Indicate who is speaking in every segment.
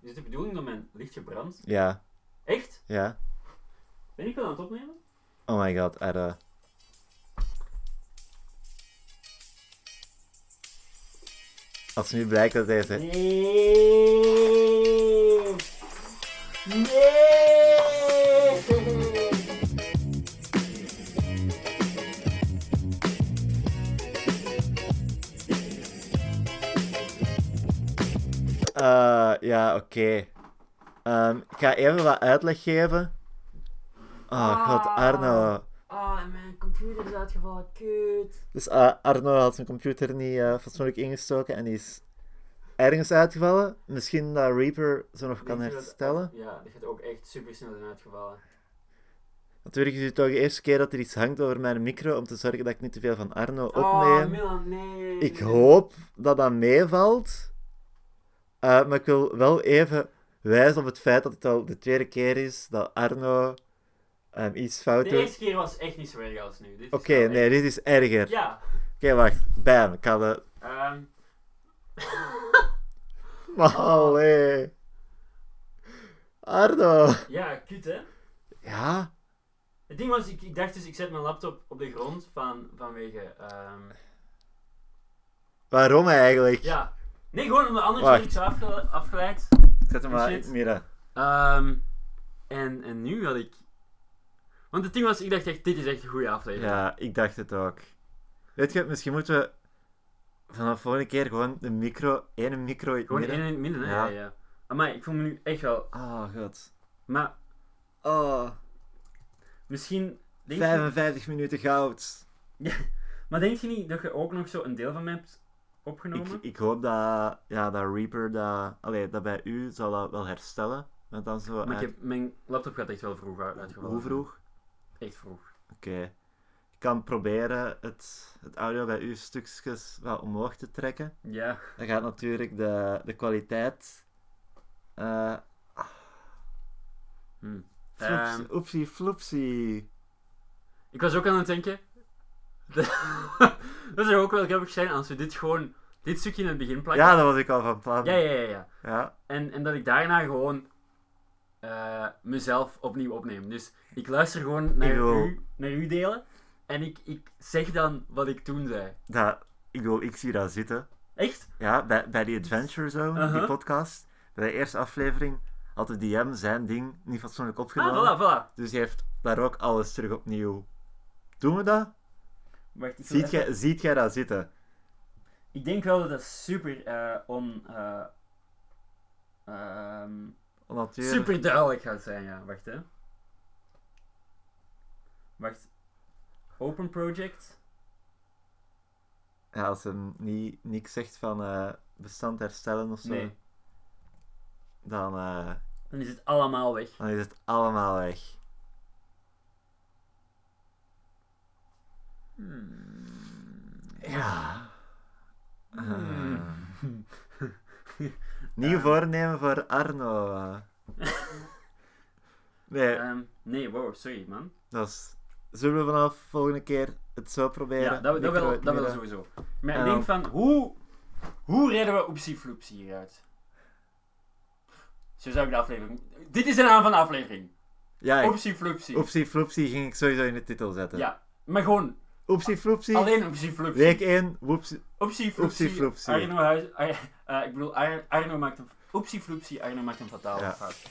Speaker 1: Is het de bedoeling dat mijn lichtje brandt?
Speaker 2: Ja,
Speaker 1: Echt?
Speaker 2: ja.
Speaker 1: Ben ik wel aan het opnemen?
Speaker 2: Oh my god, Edda. Als nu blijkt dat deze...
Speaker 1: Nee! Nee!
Speaker 2: Eh, ja, oké. Ehm, ik ga even wat uitleg geven. Oh god,
Speaker 1: Ah.
Speaker 2: Arno.
Speaker 1: Ah, en mijn computer is uitgevallen. Kut.
Speaker 2: Dus eh, Arno had zijn computer niet eh, fatsoenlijk ingestoken en die is ergens uitgevallen. Misschien dat Reaper ze nog kan
Speaker 1: Weet je wat-
Speaker 2: herstellen.
Speaker 1: Ja, die gaat ook echt super snel zijn uitgevallen.
Speaker 2: Natuurlijk is het toch de eerste keer dat er iets hangt over mijn micro om te zorgen dat ik niet te veel van Arno
Speaker 1: Oh,
Speaker 2: opneem.
Speaker 1: Milan, nee.
Speaker 2: Ik hoop dat dat meevalt. Eh, maar ik wil wel even wijzen op het feit dat het al de tweede keer is dat Arno ehm, iets fout
Speaker 1: De
Speaker 2: doet.
Speaker 1: eerste keer was echt niet zo erg als nu. Dit is
Speaker 2: Oké,
Speaker 1: wel echt-
Speaker 2: nee, dit is erger. Oké,
Speaker 1: Ja.
Speaker 2: wacht. Bam, ik had het.
Speaker 1: Ehm
Speaker 2: Allee. Arno.
Speaker 1: ja, kut hè.
Speaker 2: Ja?
Speaker 1: Het ding was, ik, ik dacht dus, ik zet mijn laptop op de grond van, vanwege... ehm
Speaker 2: Waarom eigenlijk?
Speaker 1: ja. Nee, gewoon omdat anders
Speaker 2: Wacht.
Speaker 1: word ik zo afge- afgeleid.
Speaker 2: Zet hem maar in het
Speaker 1: Shit.
Speaker 2: midden.
Speaker 1: Ehm, en, en nu had ik... Want het ding was, ik dacht echt, dit is echt een goede aflevering.
Speaker 2: Ja, ik dacht het ook. Weet je, misschien moeten we vanaf de volgende keer gewoon de micro, ene micro in het
Speaker 1: Gewoon
Speaker 2: midden.
Speaker 1: één in het midden, hè.
Speaker 2: Ja.
Speaker 1: Ja. Ja, Ah, Maar ik voel me nu echt wel...
Speaker 2: Oh, god.
Speaker 1: Maar Ah.
Speaker 2: Oh,
Speaker 1: misschien... Denk je,
Speaker 2: 55 minuten goud.
Speaker 1: maar denk je niet dat je ook nog zo een deel van mij hebt
Speaker 2: Ik,
Speaker 1: opgenomen?
Speaker 2: ik hoop dat, ja, dat Reaper dat, allee, dat bij u zal dat wel herstellen. Want dan zo
Speaker 1: maar ik
Speaker 2: uit-
Speaker 1: heb, mijn laptop gaat echt wel vroeg uit- uitgevallen.
Speaker 2: Hoe vroeg?
Speaker 1: Echt vroeg.
Speaker 2: Oké. Ik kan proberen het, het audio bij u stukjes wat omhoog te trekken.
Speaker 1: Ja.
Speaker 2: Dan gaat natuurlijk de, de kwaliteit... eh
Speaker 1: Hm.
Speaker 2: floeps-
Speaker 1: Ehm.
Speaker 2: oepsie, floepsie.
Speaker 1: Ik was ook aan het denken. dat zou ook wel grappig zijn als we dit gewoon. Dit stukje in het begin plakken.
Speaker 2: Ja, dat was ik al van plan.
Speaker 1: Ah, ja, ja, ja. ja.
Speaker 2: Ja.
Speaker 1: En, en dat ik daarna gewoon. eh, mezelf opnieuw opneem. Dus ik luister gewoon naar,
Speaker 2: wil-
Speaker 1: u, naar uw delen. En ik, ik zeg dan wat ik toen zei.
Speaker 2: Dat, ik bedoel, ik zie dat zitten.
Speaker 1: Echt?
Speaker 2: Ja, bij, bij die Adventure Zone, die
Speaker 1: Uh-huh.
Speaker 2: podcast, bij de eerste aflevering, had de DM zijn ding niet fatsoenlijk
Speaker 1: Ah,
Speaker 2: opgenomen.
Speaker 1: voilà, voilà.
Speaker 2: Dus hij heeft daar ook alles terug opnieuw. Doen we dat?
Speaker 1: Wacht, ik, wil
Speaker 2: Ziet
Speaker 1: even-
Speaker 2: jij, ziet jij dat zitten?
Speaker 1: ik denk wel dat dat super eh, on. eh, ehm,
Speaker 2: Natuurlijk.
Speaker 1: super duidelijk gaat zijn, ja. Wacht, hè. Wacht. Open project.
Speaker 2: Ja, als hem niet, niks zegt van eh, bestand herstellen of zo,
Speaker 1: Nee,
Speaker 2: dan, eh,
Speaker 1: dan is het allemaal weg.
Speaker 2: dan is het allemaal weg.
Speaker 1: Hmm.
Speaker 2: Ja. Eh, nieuw voornemen voor Arno. eh. nee,
Speaker 1: Ehm, nee, wow, sorry man.
Speaker 2: Dus zullen we vanaf volgende keer het zo proberen?
Speaker 1: Ja, dat, dat,
Speaker 2: Micro
Speaker 1: wel,
Speaker 2: het
Speaker 1: dat wel
Speaker 2: midden.
Speaker 1: sowieso. Maar ik
Speaker 2: En
Speaker 1: denk van, hoe, hoe redden we Oepsie Floepsie hieruit? Zo zou ik de aflevering... Dit is de naam van de aflevering.
Speaker 2: Ja, ik-
Speaker 1: Oepsie Floepsie.
Speaker 2: oepsie floepsie ging ik sowieso in de titel zetten.
Speaker 1: Ja, maar gewoon
Speaker 2: Oepsie floepsie,
Speaker 1: alleen Oepsie Floepsie.
Speaker 2: week 1, woepsie.
Speaker 1: Oepsie floepsie.
Speaker 2: Oepsie floepsie.
Speaker 1: Arno, Huis- Ar- eh, ik bedoel, Ar- Arno maakt een... Oepsie floepsie, Arno maakt een fatale
Speaker 2: Ja.
Speaker 1: fout.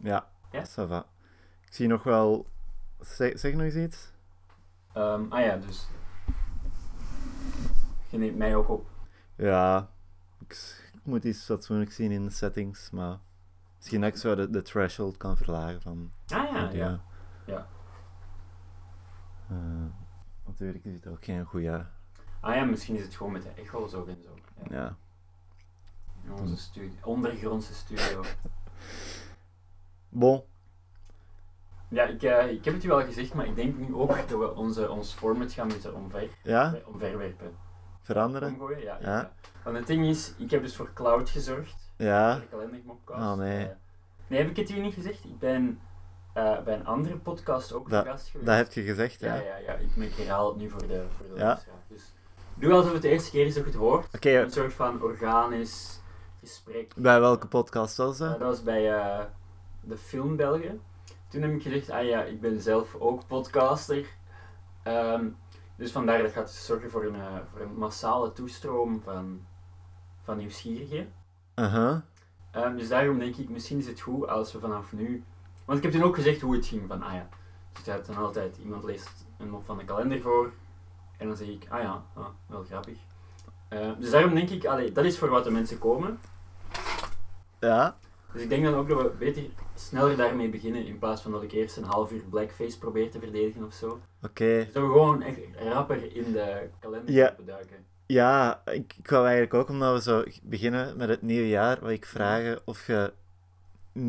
Speaker 2: Ja,
Speaker 1: Ja?
Speaker 2: ça va. Ik zie nog wel... Zeg, zeg nog eens iets?
Speaker 1: ah ja, dus... Je neemt mij ook op.
Speaker 2: Ja, ik, s- ik moet iets fatsoenlijk zien in de settings, maar... Misschien dat ik zo de, de threshold kan verlagen van...
Speaker 1: Ah ja, ja.
Speaker 2: ja.
Speaker 1: Ja.
Speaker 2: Eh, natuurlijk is het ook geen goede...
Speaker 1: Ah ja, misschien is het gewoon met de echo's ook en zo. Ja.
Speaker 2: Ja.
Speaker 1: In onze studio, ondergrondse studio.
Speaker 2: Bon.
Speaker 1: Ja, ik, eh, ik heb het u wel gezegd, maar ik denk nu ook dat we onze, ons format gaan moeten omver,
Speaker 2: Ja?
Speaker 1: eh, omverwerpen.
Speaker 2: Veranderen?
Speaker 1: Omgooien, ja,
Speaker 2: Ja.
Speaker 1: ja. Want het ding is, ik heb dus voor cloud gezorgd.
Speaker 2: Ja?
Speaker 1: Voor de kalendermopcast.
Speaker 2: Oh, nee.
Speaker 1: Eh, nee, heb ik het u niet gezegd? Ik ben eh, bij een andere podcast ook
Speaker 2: Dat-
Speaker 1: te gast geweest.
Speaker 2: Dat heb je gezegd,
Speaker 1: ja,
Speaker 2: ja.
Speaker 1: ja, ja. Ik, maar ik herhaal het nu voor de, voor de
Speaker 2: Ja.
Speaker 1: luisteraar. Dus Doe alsof het de eerste keer is dat je het hoort.
Speaker 2: Oké,
Speaker 1: Een soort van organisch gesprek.
Speaker 2: bij welke podcast was
Speaker 1: Eh,
Speaker 2: dat?
Speaker 1: dat was bij eh, de film België. Toen heb ik gezegd, ah ja, ik ben zelf ook podcaster. Ehm, dus vandaar dat gaat zorgen voor een, eh, voor een massale toestroom van, van nieuwsgierigen.
Speaker 2: Uh-huh.
Speaker 1: Ehm, dus daarom denk ik, misschien is het goed als we vanaf nu... Want ik heb toen ook gezegd hoe het ging, van ah ja. Dus dat dan altijd, iemand leest een mop van de kalender voor. En dan zeg ik, ah ja, ah, wel grappig. Ehm, dus daarom denk ik, allee, dat is voor wat de mensen komen.
Speaker 2: Ja.
Speaker 1: Dus ik denk dan ook dat we beter sneller daarmee beginnen, in plaats van dat ik eerst een half uur blackface probeer te verdedigen of zo.
Speaker 2: Oké.
Speaker 1: Dus dat we gewoon echt rapper in de kalender
Speaker 2: Ja.
Speaker 1: duiken.
Speaker 2: Ja, ik, ik wou eigenlijk ook, omdat we zo beginnen met het nieuwe jaar, wil ik vragen of je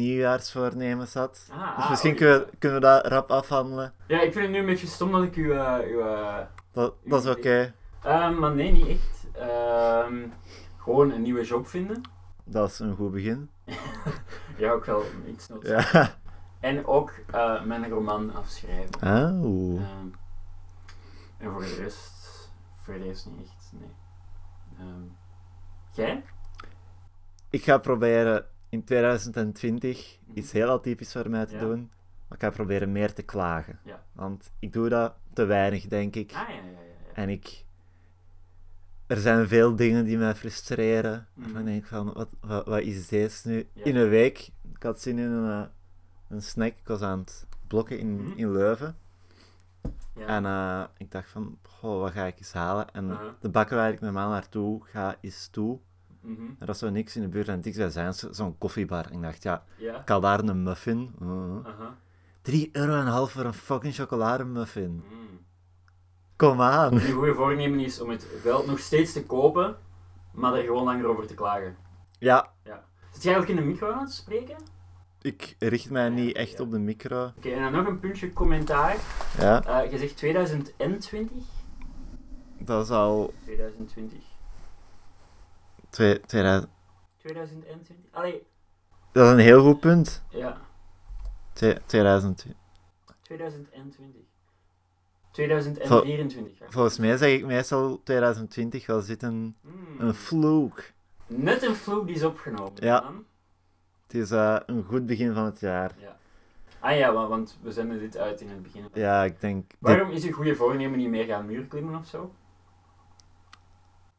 Speaker 2: nieuwjaarsvoornemens had.
Speaker 1: Ah, ah,
Speaker 2: Dus misschien
Speaker 1: oké.
Speaker 2: kunnen, we, kunnen we dat rap afhandelen.
Speaker 1: Ja, ik vind het nu een beetje stom dat ik u... eh, uw, eh,
Speaker 2: Dat, dat is oké.
Speaker 1: Ehm, maar nee, niet echt. Ehm, gewoon een nieuwe job vinden.
Speaker 2: Dat is een goed begin.
Speaker 1: Ja, ook wel iets nodig.
Speaker 2: Ja.
Speaker 1: En ook eh, mijn roman afschrijven.
Speaker 2: Auw.
Speaker 1: Ehm, en voor de rest, voor de rest niet echt, nee. Ehm, jij?
Speaker 2: Ik ga proberen in 2020 iets heel atypisch voor mij te
Speaker 1: Mhm. Ja.
Speaker 2: doen. Maar ik ga proberen meer te klagen.
Speaker 1: Ja.
Speaker 2: Want ik doe dat te weinig, denk ik.
Speaker 1: Ah, ja, ja, ja. ja.
Speaker 2: En ik... Er zijn veel dingen die mij frustreren.
Speaker 1: Mhm.
Speaker 2: Waarvan ik denk van, wat, wat, wat is deze nu?
Speaker 1: Ja.
Speaker 2: In een week, ik had zin in een, eh, een snack. Ik was aan het blokken in,
Speaker 1: Mhm.
Speaker 2: in Leuven.
Speaker 1: Ja.
Speaker 2: En eh, ik dacht van, goh, wat ga ik eens halen? En
Speaker 1: Aha.
Speaker 2: de bakker waar ik normaal naartoe ga, is toe.
Speaker 1: Mhm.
Speaker 2: Er was zo niks in de buurt en dichtstbijzijns, zo'n koffiebar. En ik dacht, ja,
Speaker 1: Ja.
Speaker 2: ik haal daar een muffin. Mm.
Speaker 1: Aha.
Speaker 2: 3,5 euro voor een fucking chocolademuffin.
Speaker 1: Mm.
Speaker 2: Kom aan.
Speaker 1: Je goede voornemen is om het wel nog steeds te kopen, maar er gewoon langer over te klagen.
Speaker 2: Ja,
Speaker 1: Zit jij eigenlijk in de micro aan het spreken? Oké,
Speaker 2: ik richt mij niet echt op de micro.
Speaker 1: en dan nog een puntje commentaar.
Speaker 2: Ja,
Speaker 1: Eh, je zegt 2020?
Speaker 2: dat is al
Speaker 1: 2020.
Speaker 2: twee, 2000.
Speaker 1: 2020? Allee,
Speaker 2: Dat is een heel goed punt.
Speaker 1: ja.
Speaker 2: Twee- 2000.
Speaker 1: 2020. 2024. ja.
Speaker 2: Volgens mij zeg ik meestal 2020 wel zitten.
Speaker 1: Hmm.
Speaker 2: Een vloek.
Speaker 1: Net een vloek die is opgenomen.
Speaker 2: Ja.
Speaker 1: man.
Speaker 2: Het is eh, een goed begin van het jaar.
Speaker 1: Ah ja, wa- want we zenden dit uit in het begin.
Speaker 2: Ja, ik denk. dit-
Speaker 1: Waarom is uw goede voornemen niet meer gaan muurklimmen of zo?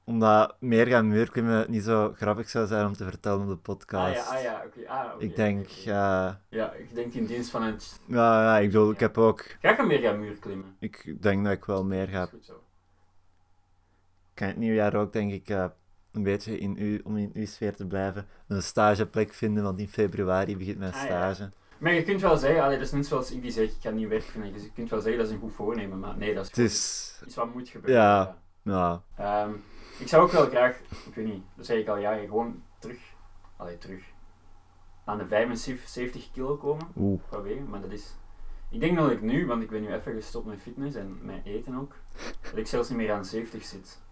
Speaker 2: omdat meer gaan muurklimmen niet zo grappig zou zijn om te vertellen op de podcast.
Speaker 1: Ah ja, ah ja, oké. ah, oké,
Speaker 2: Ik denk,
Speaker 1: oké, oké.
Speaker 2: ja,
Speaker 1: Ja, ik denk in dienst van het...
Speaker 2: ja, ja, ik bedoel, ik heb ook,
Speaker 1: Ga ik hem meer gaan muurklimmen?
Speaker 2: ik denk dat ik wel meer
Speaker 1: Dat
Speaker 2: ga.
Speaker 1: is goed zo.
Speaker 2: Ik kan het nieuwjaar ook, denk ik, eh, een beetje in u, om in uw sfeer te blijven, een stageplek vinden, want in februari begint mijn
Speaker 1: Ah, ja.
Speaker 2: stage.
Speaker 1: Maar je kunt wel zeggen, allee, dat is net zoals ik die zeg, ik ga niet werk vinden. Dus je kunt wel zeggen, dat is een goed voornemen, maar nee, dat is
Speaker 2: Het
Speaker 1: gewoon
Speaker 2: is,
Speaker 1: iets wat moet gebeuren.
Speaker 2: Ja. nou,
Speaker 1: Ehm, ik zou ook wel graag, ik weet niet, dat zeg ik al jaren, gewoon terug, allee, terug, aan de 75 kilo komen.
Speaker 2: oeh,
Speaker 1: Proberen, maar dat is... Ik denk dat ik nu, want ik ben nu even gestopt met fitness en met eten ook, dat ik zelfs niet meer aan 70 zit.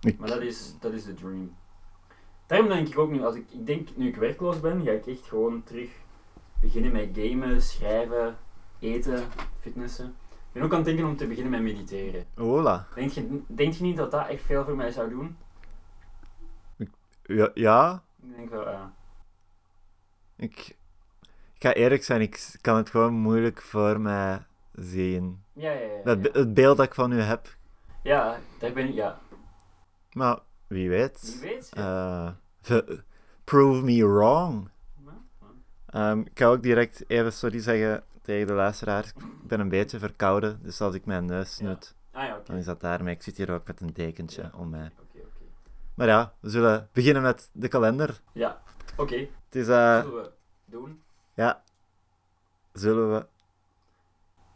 Speaker 2: ik,
Speaker 1: Maar dat is, dat is de dream. Daarom denk ik ook nu, als ik, ik denk nu ik werkloos ben, ga ik echt gewoon terug beginnen met gamen, schrijven, eten, fitnessen. Ik ben ook aan het denken om te beginnen met mediteren.
Speaker 2: hola.
Speaker 1: Denk je, denk je niet dat dat echt veel voor mij zou doen?
Speaker 2: Ja, ja,
Speaker 1: Ik denk wel, eh, ja.
Speaker 2: ik, ik ga eerlijk zijn, ik kan het gewoon moeilijk voor mij zien.
Speaker 1: Ja, ja, ja.
Speaker 2: Dat,
Speaker 1: Ja,
Speaker 2: be- het beeld dat ik van u heb,
Speaker 1: ja daar ben ik, ja.
Speaker 2: maar wie
Speaker 1: Wie
Speaker 2: weet.
Speaker 1: weet. Ja.
Speaker 2: Eh, v- prove me wrong.
Speaker 1: Ja, ja.
Speaker 2: Ehm, ik ga ook direct even sorry zeggen tegen de luisteraars. Ik ben een beetje verkouden, dus als ik mijn neus
Speaker 1: Ja.
Speaker 2: snoet,
Speaker 1: Ah ja, oké.
Speaker 2: dan is dat daarmee. Ik zit hier ook met een dekentje
Speaker 1: Ja.
Speaker 2: om mij.
Speaker 1: Oké, oké.
Speaker 2: Maar ja, we zullen beginnen met de kalender.
Speaker 1: Ja, oké.
Speaker 2: Het is, eh,
Speaker 1: Zullen we doen?
Speaker 2: zullen we...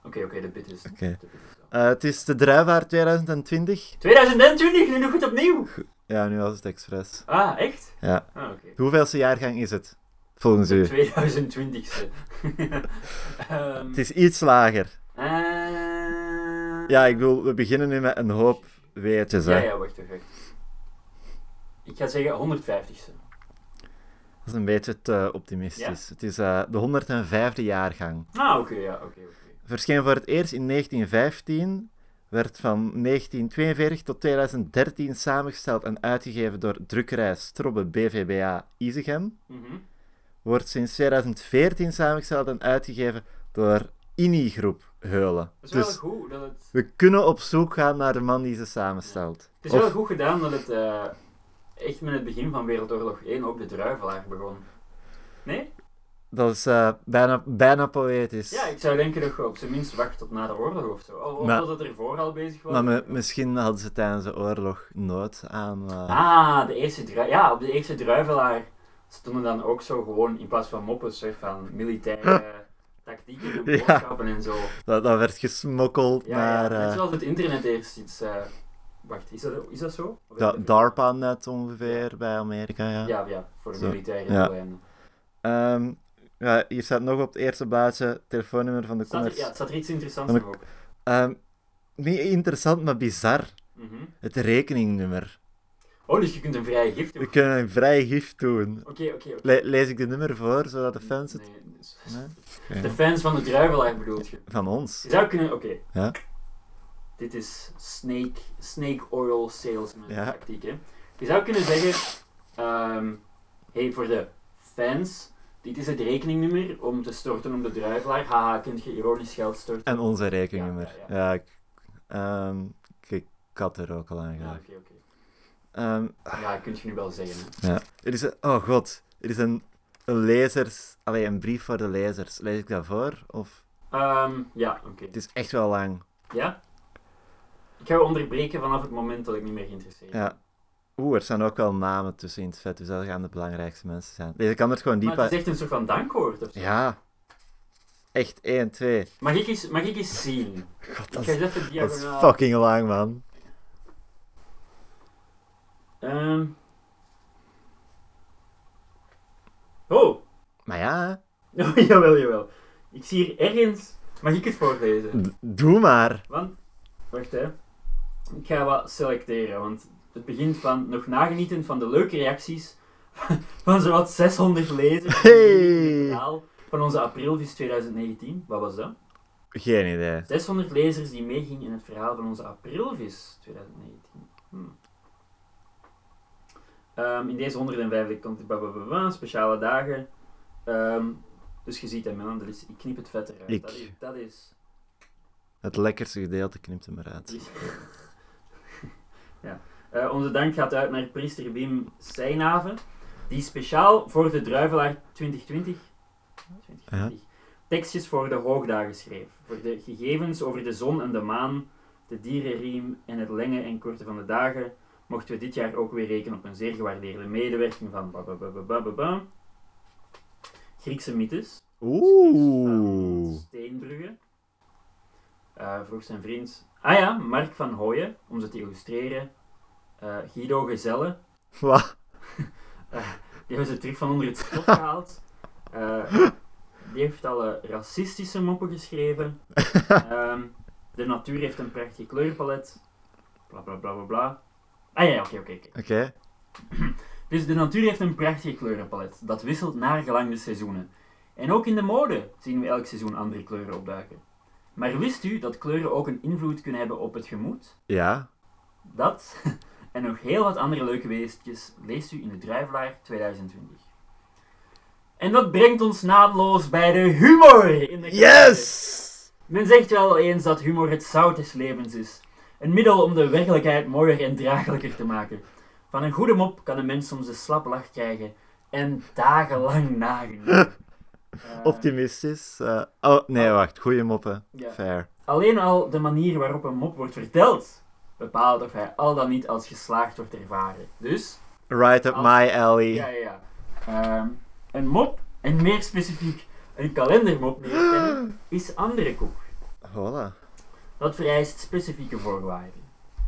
Speaker 1: Oké, oké, de bit is...
Speaker 2: Oké.
Speaker 1: de bit is wel.
Speaker 2: Eh, het is de druivaart 2020.
Speaker 1: 2020, nu nog goed opnieuw!
Speaker 2: Ja, nu was het expres.
Speaker 1: Ah, echt?
Speaker 2: Ja.
Speaker 1: Ah, oké.
Speaker 2: De hoeveelste jaargang is het, volgens
Speaker 1: De
Speaker 2: u?
Speaker 1: 2020ste. Ehm,
Speaker 2: Het is iets lager.
Speaker 1: eh,
Speaker 2: Ja, ik bedoel, we beginnen nu met een hoop weetjes, hè.
Speaker 1: Ja, ja, wacht, wacht, wacht. Ik ga zeggen 150ste.
Speaker 2: Dat is een beetje te optimistisch. Het is eh, de 105e jaargang.
Speaker 1: Ah, oké, ja, oké, oké.
Speaker 2: verscheen voor het eerst in 1915 werd van 1942 tot 2013 samengesteld en uitgegeven door drukkerij Strobbe BVBA Izegem.
Speaker 1: Mhm.
Speaker 2: Wordt sinds 2014 samengesteld en uitgegeven door INI Groep Heulen.
Speaker 1: Het is wel
Speaker 2: Dus
Speaker 1: goed dat het...
Speaker 2: we kunnen op zoek gaan naar de man die ze samenstelt.
Speaker 1: Het is
Speaker 2: Of-
Speaker 1: wel goed gedaan dat het eh, echt met het begin van Wereldoorlog 1 ook de druivelaar begon. Nee?
Speaker 2: Dat is eh, bijna, bijna poëtisch.
Speaker 1: Ja, ik zou denken dat je op zijn minst wacht tot na de oorlog of zo. Of, of
Speaker 2: Maar-
Speaker 1: dat het ervoor al bezig was.
Speaker 2: Maar me- misschien hadden ze tijdens de oorlog nood aan. eh,
Speaker 1: Ah, de eerste drui- ja, op de eerste druivelaar stonden dan ook zo gewoon in plaats van moppen, soort van militaire tactieken en
Speaker 2: Ja.
Speaker 1: boodschappen en zo.
Speaker 2: dat, dat werd gesmokkeld
Speaker 1: Ja, ja,
Speaker 2: naar
Speaker 1: net
Speaker 2: eh,
Speaker 1: zoals het internet eerst iets. eh, wacht, is dat, is dat zo? Of
Speaker 2: da-
Speaker 1: heb ik-
Speaker 2: DARPA-net ongeveer bij Amerika. Ja.
Speaker 1: Ja, ja, voor de
Speaker 2: Zo,
Speaker 1: militaire
Speaker 2: ja.
Speaker 1: doeleinden.
Speaker 2: Ehm, ja, hier staat nog op het eerste blaadje het telefoonnummer van de
Speaker 1: Staat er,
Speaker 2: commercie.
Speaker 1: ja, het staat er iets interessants
Speaker 2: Van
Speaker 1: op.
Speaker 2: Ehm, niet interessant, maar bizar.
Speaker 1: Mhm.
Speaker 2: Het rekeningnummer.
Speaker 1: Oh, dus je kunt een vrije gift doen.
Speaker 2: We
Speaker 1: Oké,
Speaker 2: kunnen een vrij gift doen.
Speaker 1: oké, oké.
Speaker 2: Le- lees ik de nummer voor, zodat de fans het...
Speaker 1: Nee, dus-
Speaker 2: Nee?
Speaker 1: De
Speaker 2: Oké.
Speaker 1: fans van de druivelaar bedoelt je.
Speaker 2: Van ons.
Speaker 1: Je zou kunnen, oké.
Speaker 2: Ja.
Speaker 1: Dit is snake, snake oil salesman
Speaker 2: Ja.
Speaker 1: tactiek, hè. Je zou kunnen zeggen, ehm, hey, voor de fans, dit is het rekeningnummer om te storten op de druivelaar. Haha, kunt je ironisch geld storten?
Speaker 2: En onze rekeningnummer.
Speaker 1: Ja,
Speaker 2: Ja, ik, ehm, ik- ik had er ook al aan
Speaker 1: Ja,
Speaker 2: gedacht.
Speaker 1: oké, oké.
Speaker 2: Ehm,
Speaker 1: Ja, kunt je nu wel zeggen. hè.
Speaker 2: ja. Er is een- oh god, er is een, een lezers... Allee, een brief voor de lezers. Lees ik dat voor? Of...
Speaker 1: Ehm, ja, oké.
Speaker 2: Het is echt wel lang.
Speaker 1: Ja? Ik ga je onderbreken vanaf het moment dat ik niet meer geïnteresseerd ben.
Speaker 2: Ja. Oeh, er staan ook wel namen tussen in het vet, dus dat gaan de belangrijkste mensen zijn. Deze kan er gewoon diep
Speaker 1: Maar het
Speaker 2: uit.
Speaker 1: is echt een soort van dankwoord of zo.
Speaker 2: Ja. Echt 1, 2.
Speaker 1: Mag ik eens, mag ik eens zien?
Speaker 2: God,
Speaker 1: Ik
Speaker 2: dat
Speaker 1: ga eens
Speaker 2: is,
Speaker 1: even
Speaker 2: dat is
Speaker 1: diagonaal...
Speaker 2: fucking lang, man.
Speaker 1: Ehm. Oh.
Speaker 2: Maar ja,
Speaker 1: oh, jawel, jawel. Ik zie hier ergens... Mag ik het voorlezen?
Speaker 2: d- doe maar.
Speaker 1: Want, wacht hè. Ik ga wat selecteren, want het begint van nog nagenieten van de leuke reacties van zowat 600 lezers
Speaker 2: Hey.
Speaker 1: in het verhaal van onze aprilvis 2019. Wat was dat?
Speaker 2: Geen idee.
Speaker 1: 600 lezers die meegingen in het verhaal van onze aprilvis 2019. Hmm. Ehm, in deze 105 komt het blablabla, speciale dagen. Ehm, dus je ziet hem, hè, dat is, ik knip het vet eruit.
Speaker 2: Ik.
Speaker 1: Dat is... Dat is,
Speaker 2: Het lekkerste gedeelte knipt hem eruit.
Speaker 1: ja. Eh, onze dank gaat uit naar priester Wim Seinhaven, die speciaal voor de Druivelaar 2020, 2020 tekstjes voor de hoogdagen schreef. Voor de gegevens over de zon en de maan, de dierenriem en het lengen en korten van de dagen, mochten we dit jaar ook weer rekenen op een zeer gewaardeerde medewerking van bababababababa. Griekse mythes.
Speaker 2: Oeh.
Speaker 1: Steenbrugge. Eh, vroeg zijn vriend. Ah ja, Mark van Hooyen, om ze te illustreren. Eh, Guido Gezelle,
Speaker 2: Wat?
Speaker 1: die hebben ze terug van onder het stof gehaald. Eh, die heeft alle racistische moppen geschreven. Ehm, de natuur heeft een prachtig kleurpalet. Bla bla bla bla bla. Ah ja, ja, oké, oké. oké.
Speaker 2: Oké.
Speaker 1: Dus de natuur heeft een prachtig kleurenpalet. Dat wisselt naar gelang de seizoenen. En ook in de mode zien we elk seizoen andere kleuren opduiken. Maar wist u dat kleuren ook een invloed kunnen hebben op het gemoed?
Speaker 2: Ja.
Speaker 1: Dat en nog heel wat andere leuke weestjes leest u in de Druivelaar 2020. En dat brengt ons naadloos bij de humor in de
Speaker 2: Yes!
Speaker 1: men zegt wel eens dat humor het zout des levens is. Een middel om de werkelijkheid mooier en draaglijker te maken. Van een goede mop kan een mens soms een slap lach krijgen en dagenlang nagenieten. Eh,
Speaker 2: Optimistisch. eh, oh, nee, wacht. Goeie moppen.
Speaker 1: ja.
Speaker 2: Fair.
Speaker 1: Alleen al de manier waarop een mop wordt verteld bepaalt of hij al dan niet als geslaagd wordt ervaren. Dus,
Speaker 2: Right up my alley.
Speaker 1: ja, ja, ja. Ehm, een mop, en meer specifiek een kalendermop leren kennen, is andere koek.
Speaker 2: Hola.
Speaker 1: Dat vereist specifieke voorwaarden.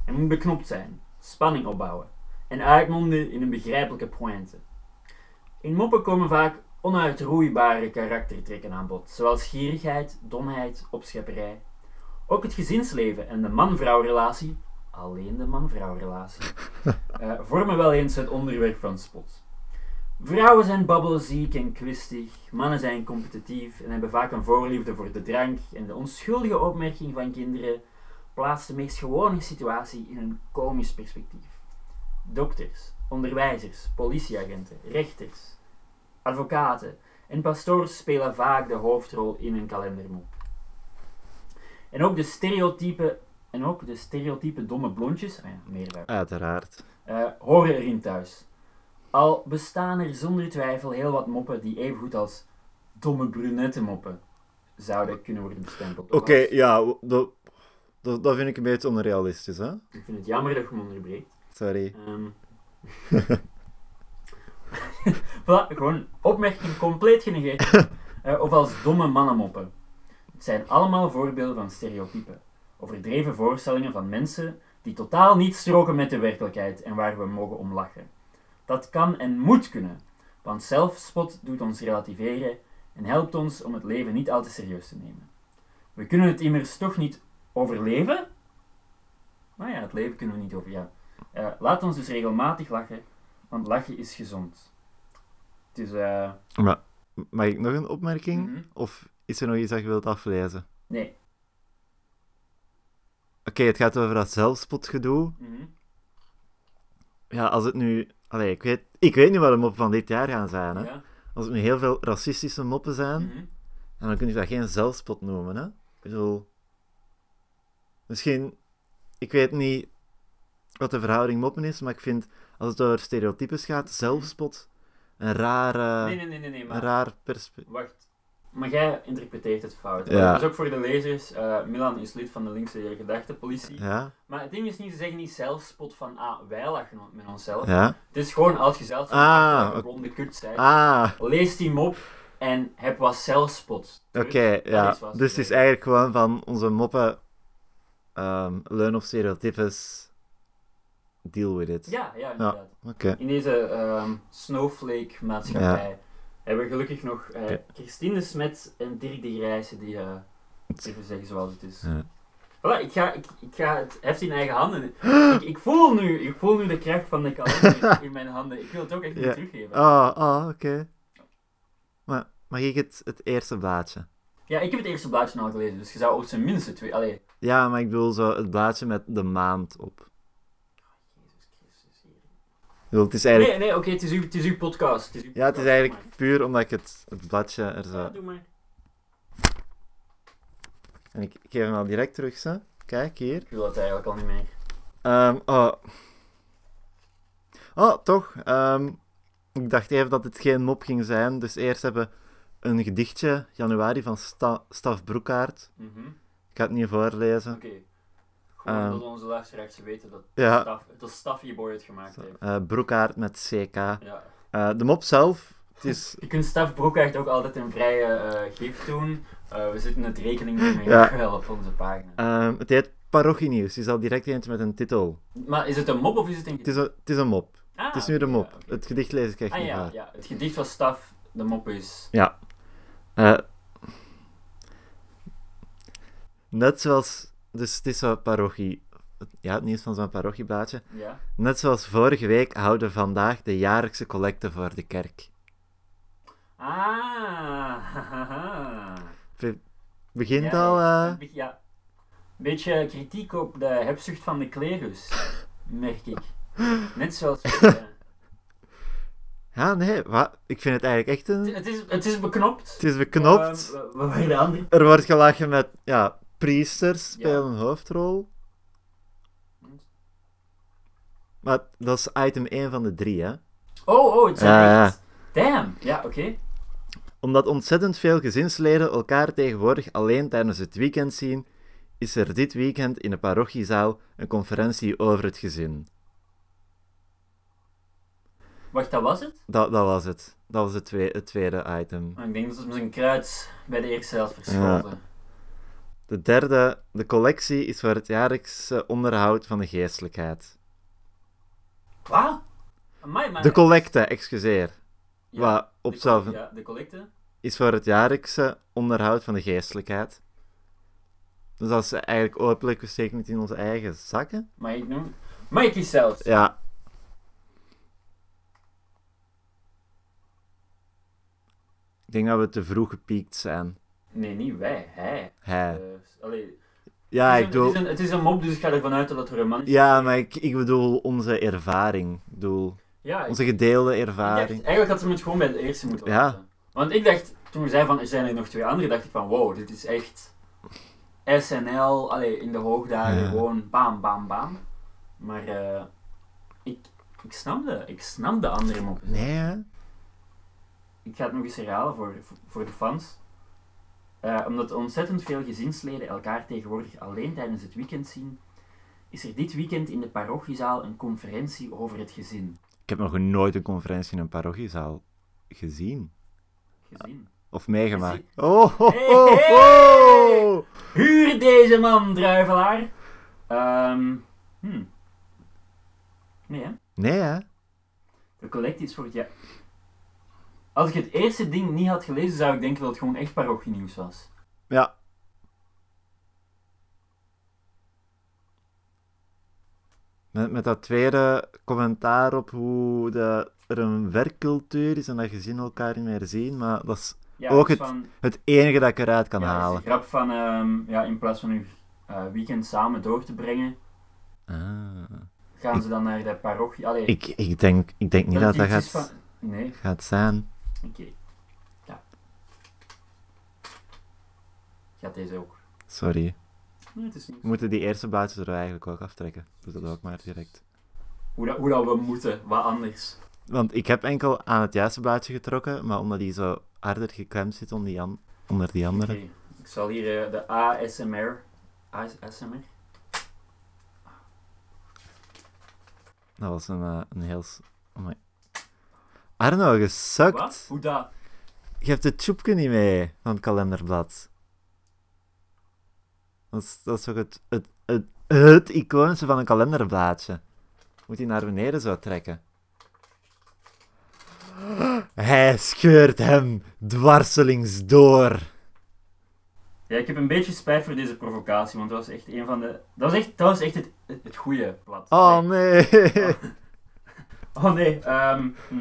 Speaker 1: Hij moet beknopt zijn, spanning opbouwen en uitmonden in een begrijpelijke pointe. In moppen komen vaak onuitroeibare karaktertrekken aan bod, zoals gierigheid, domheid, opschepperij. Ook het gezinsleven en de man-vrouw relatie, alleen de man-vrouw relatie, eh, vormen wel eens het onderwerp van spot. Vrouwen zijn babbelziek en kwistig, mannen zijn competitief en hebben vaak een voorliefde voor de drank en de onschuldige opmerking van kinderen plaatst de meest gewone situatie in een komisch perspectief. Dokters, onderwijzers, politieagenten, rechters, advocaten en pastoors spelen vaak de hoofdrol in een kalendermop. En ook de stereotype, en ook de stereotype domme blondjes, ah ja, meervoud,
Speaker 2: Uiteraard.
Speaker 1: eh, horen erin thuis. Al bestaan er zonder twijfel heel wat moppen die evengoed als domme brunette moppen zouden kunnen worden bestempeld.
Speaker 2: Oké,
Speaker 1: Of als-
Speaker 2: ja, w- dat, dat, dat vind ik een beetje onrealistisch, hè?
Speaker 1: Ik vind het jammer dat je me onderbreekt.
Speaker 2: Sorry.
Speaker 1: Ehm. Voilà, gewoon opmerking compleet genegeerd. Eh, of als domme mannenmoppen. Het zijn allemaal voorbeelden van stereotypen. Overdreven voorstellingen van mensen die totaal niet stroken met de werkelijkheid en waar we mogen om lachen. Dat kan en moet kunnen, want zelfspot doet ons relativeren en helpt ons om het leven niet al te serieus te nemen. We kunnen het immers toch niet overleven? Nou ja, het leven kunnen we niet over, ja. Eh, laat ons dus regelmatig lachen, want lachen is gezond. Dus, eh...
Speaker 2: Mag ik nog een opmerking?
Speaker 1: mhm.
Speaker 2: Of is er nog iets dat je wilt aflezen? Oké,
Speaker 1: Nee.
Speaker 2: het gaat over dat zelfspotgedoe.
Speaker 1: mhm.
Speaker 2: Ja, als het nu... Allee, ik weet, ik weet niet wat de moppen van dit jaar gaan zijn, hè?
Speaker 1: Ja.
Speaker 2: Als het nu heel veel racistische moppen zijn,
Speaker 1: Mhm.
Speaker 2: en dan kun je dat geen zelfspot noemen, hè? Ik bedoel... Misschien... Ik weet niet wat de verhouding moppen is, maar ik vind, als het over stereotypes gaat, zelfspot een raar... eh,
Speaker 1: Nee, nee, nee, nee, nee,
Speaker 2: Een
Speaker 1: maar
Speaker 2: raar perspectief.
Speaker 1: wacht. Maar jij interpreteert het fout.
Speaker 2: Ja.
Speaker 1: Dat is ook voor de lezers. eh, Milan is lid van de linkse gedachtenpolitie.
Speaker 2: Ja,
Speaker 1: Maar het ding is niet, ze zeggen niet zelfspot van, ah, wij lachen on- met onszelf.
Speaker 2: ja.
Speaker 1: Het is gewoon als je zelf
Speaker 2: Ah,
Speaker 1: een
Speaker 2: oké.
Speaker 1: blonde kut bent,
Speaker 2: Ah,
Speaker 1: lees die mop en heb wat zelfspot.
Speaker 2: oké,
Speaker 1: Dat
Speaker 2: ja.
Speaker 1: is wat ze
Speaker 2: Dus het is
Speaker 1: zeggen.
Speaker 2: eigenlijk gewoon van onze moppen, ehm leun op stereotypes, deal with it.
Speaker 1: Ja, ja, inderdaad.
Speaker 2: Oké.
Speaker 1: In deze ehm, snowflake-maatschappij hebben we gelukkig nog eh
Speaker 2: Oké.
Speaker 1: Christine de Smet en Dirk de Grijze die eh even zeggen zoals het is.
Speaker 2: Ja.
Speaker 1: Voilà, ik ga, ik, ik ga het heft in eigen handen. Ik, ik, voel nu, ik voel nu de kracht van de kalender in mijn handen. Ik wil het ook echt niet
Speaker 2: Ja.
Speaker 1: teruggeven.
Speaker 2: Ah, ah, oké. Maar mag ik het, het eerste blaadje?
Speaker 1: Ja, ik heb het eerste blaadje al gelezen, dus je zou op zijn minst de twee... Allee.
Speaker 2: Ja, maar ik bedoel zo het blaadje met de maand op.
Speaker 1: Jezus Christus, hier.
Speaker 2: Ik bedoel, het is eigenlijk,
Speaker 1: Nee, nee, oké, het is uw- het is uw podcast. Het is uw
Speaker 2: ja, het is
Speaker 1: podcast,
Speaker 2: eigenlijk puur omdat ik het, het bladje er
Speaker 1: maar- Ja,
Speaker 2: zo...
Speaker 1: doe maar.
Speaker 2: En ik, ik geef hem al direct terug, zo. Kijk, hier.
Speaker 1: Ik wil dat eigenlijk al niet meer.
Speaker 2: Ehm, oh. oh, toch. ehm, ik dacht even dat het geen mop ging zijn. Dus eerst hebben we een gedichtje, januari, van Sta Staf Broekaert.
Speaker 1: Mhm.
Speaker 2: Ik ga het niet voorlezen.
Speaker 1: Oké. Gewoon
Speaker 2: Ehm.
Speaker 1: dat onze luisteraars weten dat
Speaker 2: Ja.
Speaker 1: Staf, dat Staf je boy het gemaakt heeft.
Speaker 2: Eh Broekaert met CK.
Speaker 1: Ja.
Speaker 2: Eh, de mop zelf, het is...
Speaker 1: Je kunt Staf Broekhaart ook altijd een vrije eh gift doen. Eh, we zitten het rekening mee
Speaker 2: Ja.
Speaker 1: wel op onze pagina.
Speaker 2: ehm, het heet Parochienieuws. Het is al direct eentje met een titel.
Speaker 1: Maar is het een mop of is het een
Speaker 2: Het is een, het is een mop.
Speaker 1: Ah,
Speaker 2: Het is nu de
Speaker 1: oké,
Speaker 2: mop.
Speaker 1: ja, oké.
Speaker 2: Het gedicht lees ik echt
Speaker 1: ah,
Speaker 2: niet
Speaker 1: ja,
Speaker 2: waar.
Speaker 1: ja, het gedicht van Staf, de mop is...
Speaker 2: Eh, net zoals... Dus het is zo'n parochie... Ja, het nieuws van zo'n parochieblaadje.
Speaker 1: Ja.
Speaker 2: Net zoals vorige week houden we vandaag de jaarlijkse collecte voor de kerk.
Speaker 1: Ah, hahaha.
Speaker 2: Begint
Speaker 1: Ah. Ja,
Speaker 2: al... eh,
Speaker 1: een beetje- Ja. Beetje kritiek op de hebzucht van de klerus, merk ik. Net zoals... eh,
Speaker 2: Ja, nee. Wat? Ik vind het eigenlijk echt een...
Speaker 1: het, is, het is beknopt.
Speaker 2: Het is beknopt.
Speaker 1: Ehm, Wat waren de andere?
Speaker 2: Er wordt gelachen met... Ja, priesters spelen
Speaker 1: Ja. Hm.
Speaker 2: een hoofdrol. Maar dat is item 1 van de drie, hè.
Speaker 1: Oh, oh, het zijn
Speaker 2: Ja,
Speaker 1: echt... Damn. Ja, oké.
Speaker 2: Omdat ontzettend veel gezinsleden elkaar tegenwoordig alleen tijdens het weekend zien, is er dit weekend in de parochiezaal een conferentie over het gezin.
Speaker 1: Wacht, dat was het?
Speaker 2: Dat, dat was het. Dat was het, twee- het tweede item.
Speaker 1: Maar ik denk dat het met een kruid bij de eerste helft verschoten.
Speaker 2: De derde, de collectie is voor het jaarlijkse onderhoud van de geestelijkheid.
Speaker 1: Wat? Amai, maar...
Speaker 2: De collecte, excuseer.
Speaker 1: Ah, Ja,
Speaker 2: Wat
Speaker 1: de
Speaker 2: op
Speaker 1: coll-
Speaker 2: zelf
Speaker 1: Ja, de collecte.
Speaker 2: is voor het jaarlijkse onderhoud van de geestelijkheid. Dus dat is eigenlijk openlijk, we steken het in onze eigen zakken.
Speaker 1: Mag ik noemen? Mikey zelfs.
Speaker 2: Ja. Ik denk dat we te vroeg gepiekt zijn.
Speaker 1: Nee, niet wij. Hij.
Speaker 2: Hij.
Speaker 1: Eh, allee,
Speaker 2: Ja,
Speaker 1: het, is
Speaker 2: ik
Speaker 1: een,
Speaker 2: bedoel...
Speaker 1: het, is een, het is een mop, dus ik ga ervan uit dat het er een man is.
Speaker 2: Ja, maar ik, ik bedoel onze ervaring. Ik bedoel,
Speaker 1: Ja, ik, ik
Speaker 2: onze gedeelde
Speaker 1: dacht-
Speaker 2: ervaring.
Speaker 1: eigenlijk had ze het gewoon bij de eerste moeten
Speaker 2: Ja.
Speaker 1: laten. Want ik dacht, toen we zeiden van, er zijn er nog twee andere, dacht ik van, wow, dit is echt SNL, allee, in de hoogdagen,
Speaker 2: Ja.
Speaker 1: gewoon bam, bam, bam. Maar eh, ik, ik snapte, ik snap de andere mop.
Speaker 2: Nee, hè?
Speaker 1: Ik ga het nog eens herhalen voor, voor de fans. Eh, omdat ontzettend veel gezinsleden elkaar tegenwoordig alleen tijdens het weekend zien, is er dit weekend in de parochiezaal een conferentie over het gezin.
Speaker 2: Ik heb nog nooit een conferentie in een parochiezaal gezien.
Speaker 1: Gezin.
Speaker 2: Of meegemaakt.
Speaker 1: Gezien.
Speaker 2: Oh, ho,
Speaker 1: Hey,
Speaker 2: ho, ho!
Speaker 1: Huur deze man, druivelaar! Ehm hmm. Nee, hè?
Speaker 2: Nee, hè?
Speaker 1: De collect is voor het jaar. Als ik het eerste ding niet had gelezen, zou ik denken dat het gewoon echt parochienieuws was.
Speaker 2: Ja. Met, met dat tweede commentaar op hoe de, er een werkcultuur is en dat gezinnen elkaar niet meer zien, maar dat is
Speaker 1: Ja,
Speaker 2: Ook
Speaker 1: dus van-
Speaker 2: het enige dat ik eruit kan
Speaker 1: ja, dat is
Speaker 2: halen.
Speaker 1: de grap van, ehm, ja, in plaats van uw eh, weekend samen door te brengen,
Speaker 2: Ah.
Speaker 1: gaan ze dan naar de parochie. Allee,
Speaker 2: Ik, ik, denk, ik denk niet dat dat
Speaker 1: iets
Speaker 2: gaat,
Speaker 1: is van- Nee,
Speaker 2: gaat zijn.
Speaker 1: oké. Ja. Gaat deze ook?
Speaker 2: Sorry.
Speaker 1: Nee, het is niet.
Speaker 2: We moeten die eerste buitjes er eigenlijk ook aftrekken. Doe dat ook maar direct.
Speaker 1: Hoe, dat, hoe dat we moeten, wat anders.
Speaker 2: Want ik heb enkel aan het juiste buitje getrokken, maar omdat die zo harder geklemd zit onder die, an- onder die andere.
Speaker 1: Oké, Ik zal hier eh, de ASMR. ASMR?
Speaker 2: Dat was een, eh, een heel... s- Oh my. Arno, gesukt.
Speaker 1: Wat? Hoe dat?
Speaker 2: Je hebt het tjoepje niet mee van het kalenderblad. Dat is, dat is ook het, het, het, het icoontje van een kalenderblaadje. Moet hij naar beneden zo trekken. Hij scheurt hem dwarselings door.
Speaker 1: Ja, ik heb een beetje spijt voor deze provocatie, want dat was echt een van de... Dat was echt, dat was echt het, het, het goede plat.
Speaker 2: Oh nee.
Speaker 1: Oh nee, ehm... hm.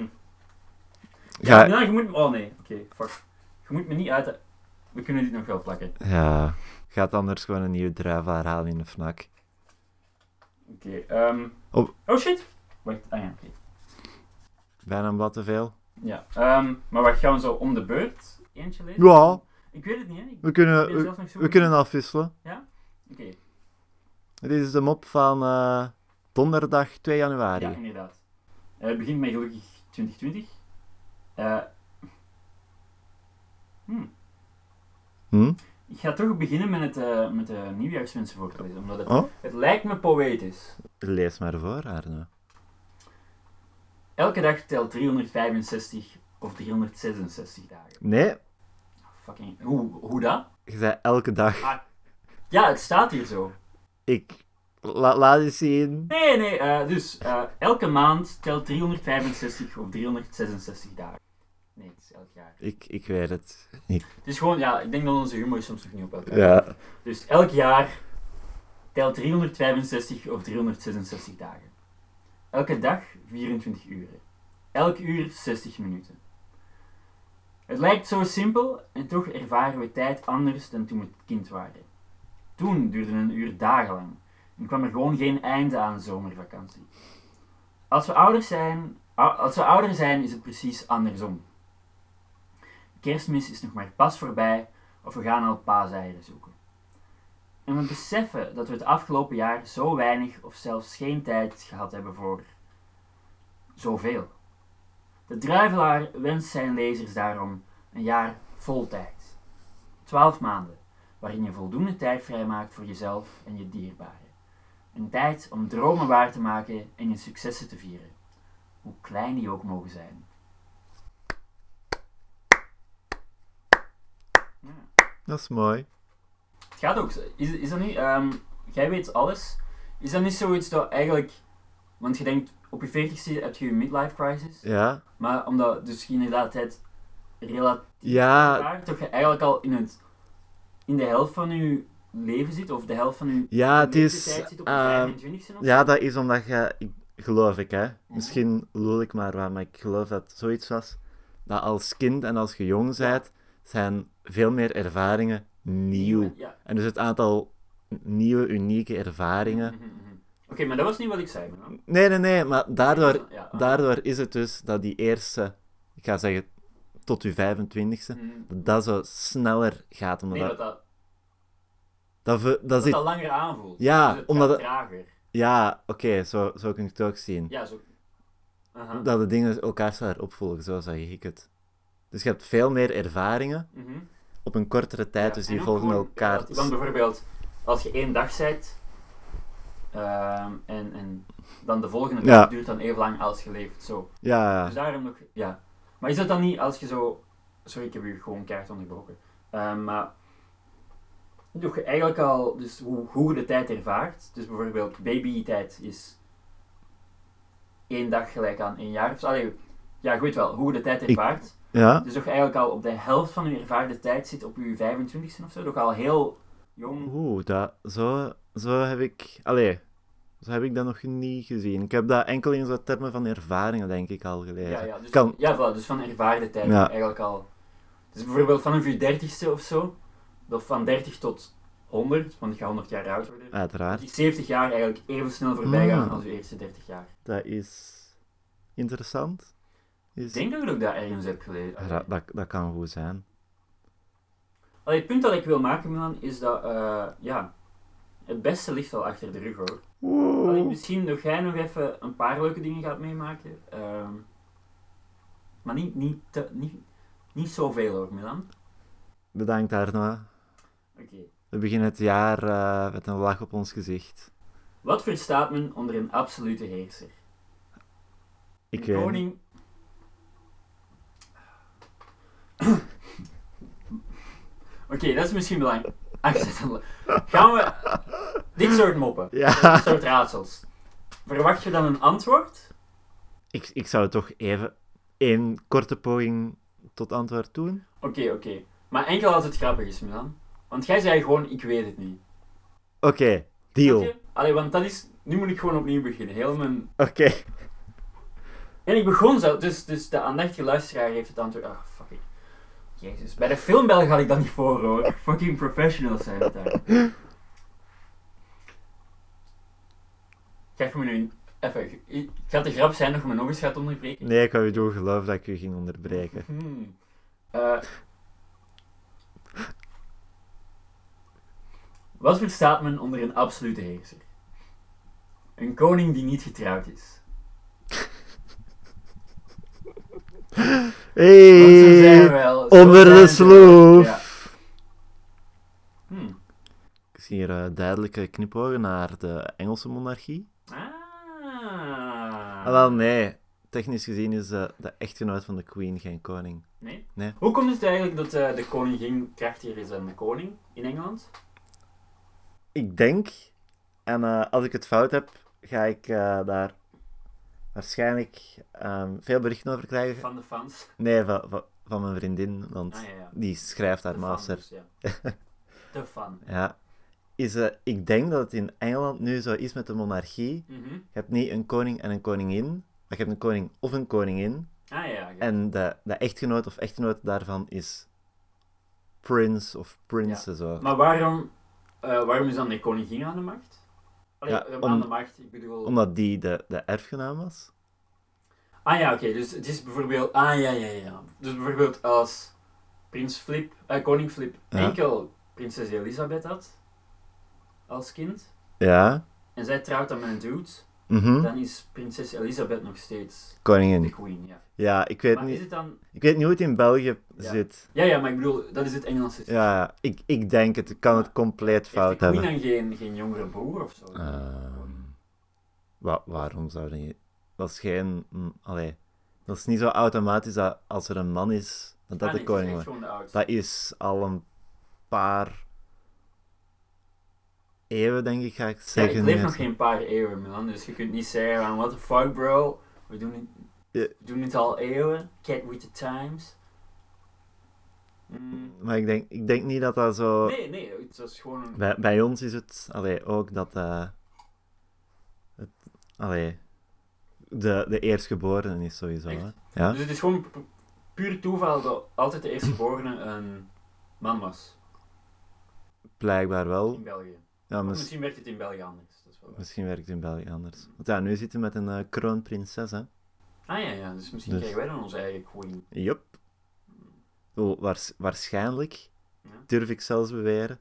Speaker 1: Ja,
Speaker 2: Ja,
Speaker 1: nou, je moet... me- Oh nee, oké, fuck. Je moet me niet uit... We kunnen dit nog wel plakken.
Speaker 2: ja. Gaat anders gewoon een nieuwe druivelaar halen in de fnak.
Speaker 1: Oké, ehm...
Speaker 2: Op-
Speaker 1: Oh shit! Wacht, ah ja, oké.
Speaker 2: Bijna een blad te veel.
Speaker 1: Ja, ehm... Maar wacht, gaan we zo om de beurt eentje lezen?
Speaker 2: Ja.
Speaker 1: Ik weet het niet, hè. Ik
Speaker 2: We
Speaker 1: ben
Speaker 2: kunnen,
Speaker 1: het
Speaker 2: we,
Speaker 1: zelf nog zo.
Speaker 2: we kunnen afwisselen.
Speaker 1: Oké,
Speaker 2: Dit is de mop van eh, donderdag 2 januari.
Speaker 1: ja, inderdaad. Eh, het begint met gelukkig 2020. Eh... hm.
Speaker 2: Hm?
Speaker 1: Ik ga toch beginnen met, het, eh, met de nieuwjaarswensen voor te lezen, omdat het,
Speaker 2: Oh.
Speaker 1: het lijkt me poëtisch.
Speaker 2: Lees maar voor, Arno.
Speaker 1: Elke dag telt 365 of 366 dagen.
Speaker 2: Nee,
Speaker 1: Fucking, hoe, hoe dat?
Speaker 2: je zei elke dag.
Speaker 1: Ja, het staat hier zo.
Speaker 2: Ik la, laat eens zien.
Speaker 1: Nee, nee, eh, dus eh, elke maand telt 365 of 366 dagen. Nee, het is elk jaar.
Speaker 2: Ik, ik weet het.
Speaker 1: Het is gewoon, ja, ik denk dat onze humor soms nog niet op elkaar
Speaker 2: Ja.
Speaker 1: Dus elk jaar telt 365 of 366 dagen. Elke dag 24 uren. Elk uur 60 minuten. Het lijkt zo simpel en toch ervaren we tijd anders dan toen we kind waren. Toen duurde een uur dagenlang en kwam er gewoon geen einde aan de zomervakantie. Als we ouder zijn, a- als we ouder zijn is het precies andersom. Kerstmis is nog maar pas voorbij of we gaan al paaseieren zoeken. En we beseffen dat we het afgelopen jaar zo weinig of zelfs geen tijd gehad hebben voor zoveel. De druivelaar wenst zijn lezers daarom een jaar vol tijd. Twaalf maanden, waarin je voldoende tijd vrijmaakt voor jezelf en je dierbaren. Een tijd om dromen waar te maken en je successen te vieren, hoe klein die ook mogen zijn. Ja.
Speaker 2: Dat is mooi.
Speaker 1: Het gaat ook. zo- Is, is dat niet, ehm, jij weet alles. Is dat niet zoiets dat eigenlijk. Want je denkt, op je 40ste heb je je midlife crisis.
Speaker 2: Ja.
Speaker 1: Maar omdat dus je inderdaad het relatief
Speaker 2: Ja.
Speaker 1: waar, toch je eigenlijk al in, het, in de helft van je leven zit, of de helft van je
Speaker 2: Ja, het is...
Speaker 1: leeftijd zit op je
Speaker 2: ehm,
Speaker 1: 25ste of
Speaker 2: ja, dat is omdat je... Ik, geloof ik,
Speaker 1: Mhm.
Speaker 2: hè. Misschien lul ik maar wat, maar ik geloof dat zoiets was... Dat als kind en als je jong bent, zijn veel meer ervaringen nieuw.
Speaker 1: Ja,
Speaker 2: En dus het aantal nieuwe, unieke ervaringen.
Speaker 1: Mhm, mhm. Oké, maar dat was niet wat ik zei. man.
Speaker 2: Nee, nee, nee, maar daardoor,
Speaker 1: Ja, ah.
Speaker 2: daardoor is het dus dat die eerste, ik ga zeggen tot je 25ste,
Speaker 1: Mhm.
Speaker 2: dat dat zo sneller gaat. Omdat
Speaker 1: Nee, dat
Speaker 2: dat,
Speaker 1: dat,
Speaker 2: dat, ver- dat
Speaker 1: dat,
Speaker 2: zit-
Speaker 1: dat langer aanvoelt. Dus
Speaker 2: Ja,
Speaker 1: het
Speaker 2: omdat
Speaker 1: gaat
Speaker 2: het-
Speaker 1: trager.
Speaker 2: Ja, oké, zo, zo kun je het ook zien.
Speaker 1: Ja, zo. Aha.
Speaker 2: Dat de dingen elkaar sneller opvolgen, zo zag ik het. Dus je hebt veel meer ervaringen
Speaker 1: Mhm.
Speaker 2: op een kortere tijd,
Speaker 1: Ja,
Speaker 2: dus
Speaker 1: en
Speaker 2: die
Speaker 1: ook
Speaker 2: volgen
Speaker 1: gewoon,
Speaker 2: elkaar.
Speaker 1: ja, dat- Want bijvoorbeeld, als je één dag zijt, ehm, en, en dan de volgende
Speaker 2: Ja.
Speaker 1: dag duurt dan even lang als je leeft. Zo.
Speaker 2: Ja,
Speaker 1: Dus daarom nog, ja. Maar is dat dan niet als je zo. Sorry, ik heb u gewoon kaart onderbroken. Ehm, maar. Doe je eigenlijk al, dus hoe, hoe je de tijd ervaart. Dus bijvoorbeeld, babytijd is één dag gelijk aan één jaar. Of zo. Allee, ja, je weet wel, hoe je de tijd
Speaker 2: Ik-
Speaker 1: ervaart.
Speaker 2: ja,
Speaker 1: Dus toch eigenlijk al op de helft van uw ervaarde tijd zit op uw 25ste of zo. Toch al heel jong.
Speaker 2: oeh, Hm. dat, zo, zo heb ik, allee, zo heb ik dat nog niet gezien. Ik heb dat enkel in zo'n termen van ervaringen, denk ik, al gelezen.
Speaker 1: Ja, ja, dus,
Speaker 2: Kan.
Speaker 1: ja voilà, dus van ervaarde tijd
Speaker 2: Ja.
Speaker 1: eigenlijk al. Dus bijvoorbeeld vanaf uw 30ste of zo. Of van 30 tot 100, want ik ga 100 jaar oud worden. Dat
Speaker 2: Uiteraard,
Speaker 1: die 70 jaar eigenlijk even snel voorbij gaan
Speaker 2: Ah.
Speaker 1: als uw eerste 30 jaar.
Speaker 2: dat is interessant.
Speaker 1: Ik
Speaker 2: Is...
Speaker 1: denk dat ik dat ook daar ergens heb gelezen.
Speaker 2: Ja, dat, dat kan goed zijn.
Speaker 1: Allee, het punt dat ik wil maken, Milan, is dat, eh, ja, het beste ligt al achter de rug, hoor. Allee,
Speaker 2: Oeh.
Speaker 1: misschien nog jij nog even een paar leuke dingen gaat meemaken. ehm, maar niet, niet, te- niet, niet zoveel hoor, Milan.
Speaker 2: Bedankt, Arno.
Speaker 1: Oké.
Speaker 2: We beginnen het jaar eh, met een lach op ons gezicht.
Speaker 1: Wat verstaat men onder een absolute heerser? een
Speaker 2: Ik eh, weet niet.
Speaker 1: koning. Oké, dat is misschien belangrijk. Ah, Aangezet- Gaan we. Dit soort moppen,
Speaker 2: Ja.
Speaker 1: dit soort raadsels. Verwacht je dan een antwoord?
Speaker 2: Ik, ik zou toch even één korte poging tot antwoord doen.
Speaker 1: Oké, oké. Maar enkel als het grappig is, Milan. Want jij zei gewoon: ik weet het niet.
Speaker 2: Oké, deal.
Speaker 1: Snap
Speaker 2: Oké.
Speaker 1: je? Allee, want dat is... Nu moet ik gewoon opnieuw beginnen. Heel mijn... En ik begon zo, dus, dus de aandachtige luisteraar heeft het antwoord... Ah, fuck it. Jezus, bij de filmbel had ik dat niet voor, hoor. Fucking professionals zijn het daar. Geef me nu... een- Even, i- gaat de grap zijn dat je me nog eens gaat onderbreken?
Speaker 2: Nee, ik wou je doen geloof dat ik je ging onderbreken.
Speaker 1: Hmm. Eh, wat verstaat men onder een absolute heerser? Een koning die niet getrouwd is. Want zo zijn we
Speaker 2: Hey,
Speaker 1: wel. zo
Speaker 2: Eh, onder
Speaker 1: zijn
Speaker 2: de
Speaker 1: we.
Speaker 2: sloof.
Speaker 1: Ja. Hmm.
Speaker 2: Ik zie hier eh, duidelijke knipogen naar de Engelse monarchie.
Speaker 1: Ah.
Speaker 2: Ah, wel nee. Technisch gezien is eh, de echtgenoot van de queen geen koning.
Speaker 1: Nee?
Speaker 2: Nee.
Speaker 1: Hoe komt het eigenlijk dat eh, de koningin krachtiger is dan de koning in Engeland?
Speaker 2: Ik denk, en eh, als ik het fout heb, ga ik eh, daar waarschijnlijk ehm, veel berichten over krijgen.
Speaker 1: Van de fans.
Speaker 2: Nee, van, van, van mijn vriendin, want
Speaker 1: Ah ja, ja.
Speaker 2: die schrijft haar
Speaker 1: De fan
Speaker 2: master.
Speaker 1: dus, ja. De fan.
Speaker 2: Ja. Is, eh, ik denk dat het in Engeland nu zo is met de monarchie.
Speaker 1: Mhm.
Speaker 2: Je hebt niet een koning en een koningin, maar je hebt een koning of een koningin.
Speaker 1: Ah ja, ja.
Speaker 2: En de, de echtgenoot of echtgenoot daarvan is prins of prinses. zo.
Speaker 1: Maar waarom, eh, waarom is dan de koningin aan de macht? Allee,
Speaker 2: Ja,
Speaker 1: eh,
Speaker 2: om-
Speaker 1: aan de macht, ik bedoel...
Speaker 2: Omdat die de, de erfgenaam was.
Speaker 1: Ah ja, oké, dus het is bijvoorbeeld... Ah ja, ja, ja. Dus bijvoorbeeld als prins Flip, eh, koning Flip
Speaker 2: Ja.
Speaker 1: enkel prinses Elisabeth had als kind,
Speaker 2: Ja.
Speaker 1: en zij trouwt dan met een dude,
Speaker 2: Mhm.
Speaker 1: dan is prinses Elisabeth nog steeds de
Speaker 2: Koningin.
Speaker 1: queen, ja.
Speaker 2: Ja, ik weet,
Speaker 1: maar is
Speaker 2: niet,
Speaker 1: het dan...
Speaker 2: ik weet niet hoe het in België
Speaker 1: Ja.
Speaker 2: zit.
Speaker 1: Ja, ja, maar ik bedoel, dat is het Engelse. systeem.
Speaker 2: Ja, ik, ik denk het. Ik kan het compleet
Speaker 1: Heeft de
Speaker 2: fout
Speaker 1: queen
Speaker 2: hebben.
Speaker 1: dan geen, geen jongere broer of zo?
Speaker 2: Ehm, wa- waarom zou je... Dat is geen... mm, allee, dat is niet zo automatisch dat als er een man is, dat dat
Speaker 1: Ah,
Speaker 2: de
Speaker 1: nee, het is
Speaker 2: koning
Speaker 1: echt
Speaker 2: wordt.
Speaker 1: gewoon de oudste.
Speaker 2: Dat is al een paar eeuwen, denk ik, ga ik
Speaker 1: Ja,
Speaker 2: zeggen.
Speaker 1: ik leef
Speaker 2: nu.
Speaker 1: nog geen paar eeuwen, Milan, dus je kunt niet zeggen van what the fuck bro, we doen het,
Speaker 2: Ja.
Speaker 1: we doen het al eeuwen, get with the times. Mm,
Speaker 2: Maar ik denk, ik denk niet dat dat zo...
Speaker 1: Nee, nee, het was gewoon een...
Speaker 2: Bij, bij ons is het allee, ook dat... eh, het, allee, de, de eerstgeborene is sowieso.
Speaker 1: Echt?
Speaker 2: Hè? Ja?
Speaker 1: Dus het is gewoon pu- puur toeval dat altijd de eerstgeborene een man was,
Speaker 2: Blijkbaar wel.
Speaker 1: in België.
Speaker 2: Ja,
Speaker 1: Of Oh,
Speaker 2: mis-
Speaker 1: Misschien werkt het in België anders. Dat is wel waar.
Speaker 2: misschien werkt het in België anders. Want ja, nu zitten we met een eh, kroonprinses, hè.
Speaker 1: Ah ja, ja, dus misschien
Speaker 2: Dus-
Speaker 1: krijgen wij dan onze eigen queen.
Speaker 2: Yup. Wel, waars- waarschijnlijk,
Speaker 1: Ja.
Speaker 2: durf ik zelfs beweren.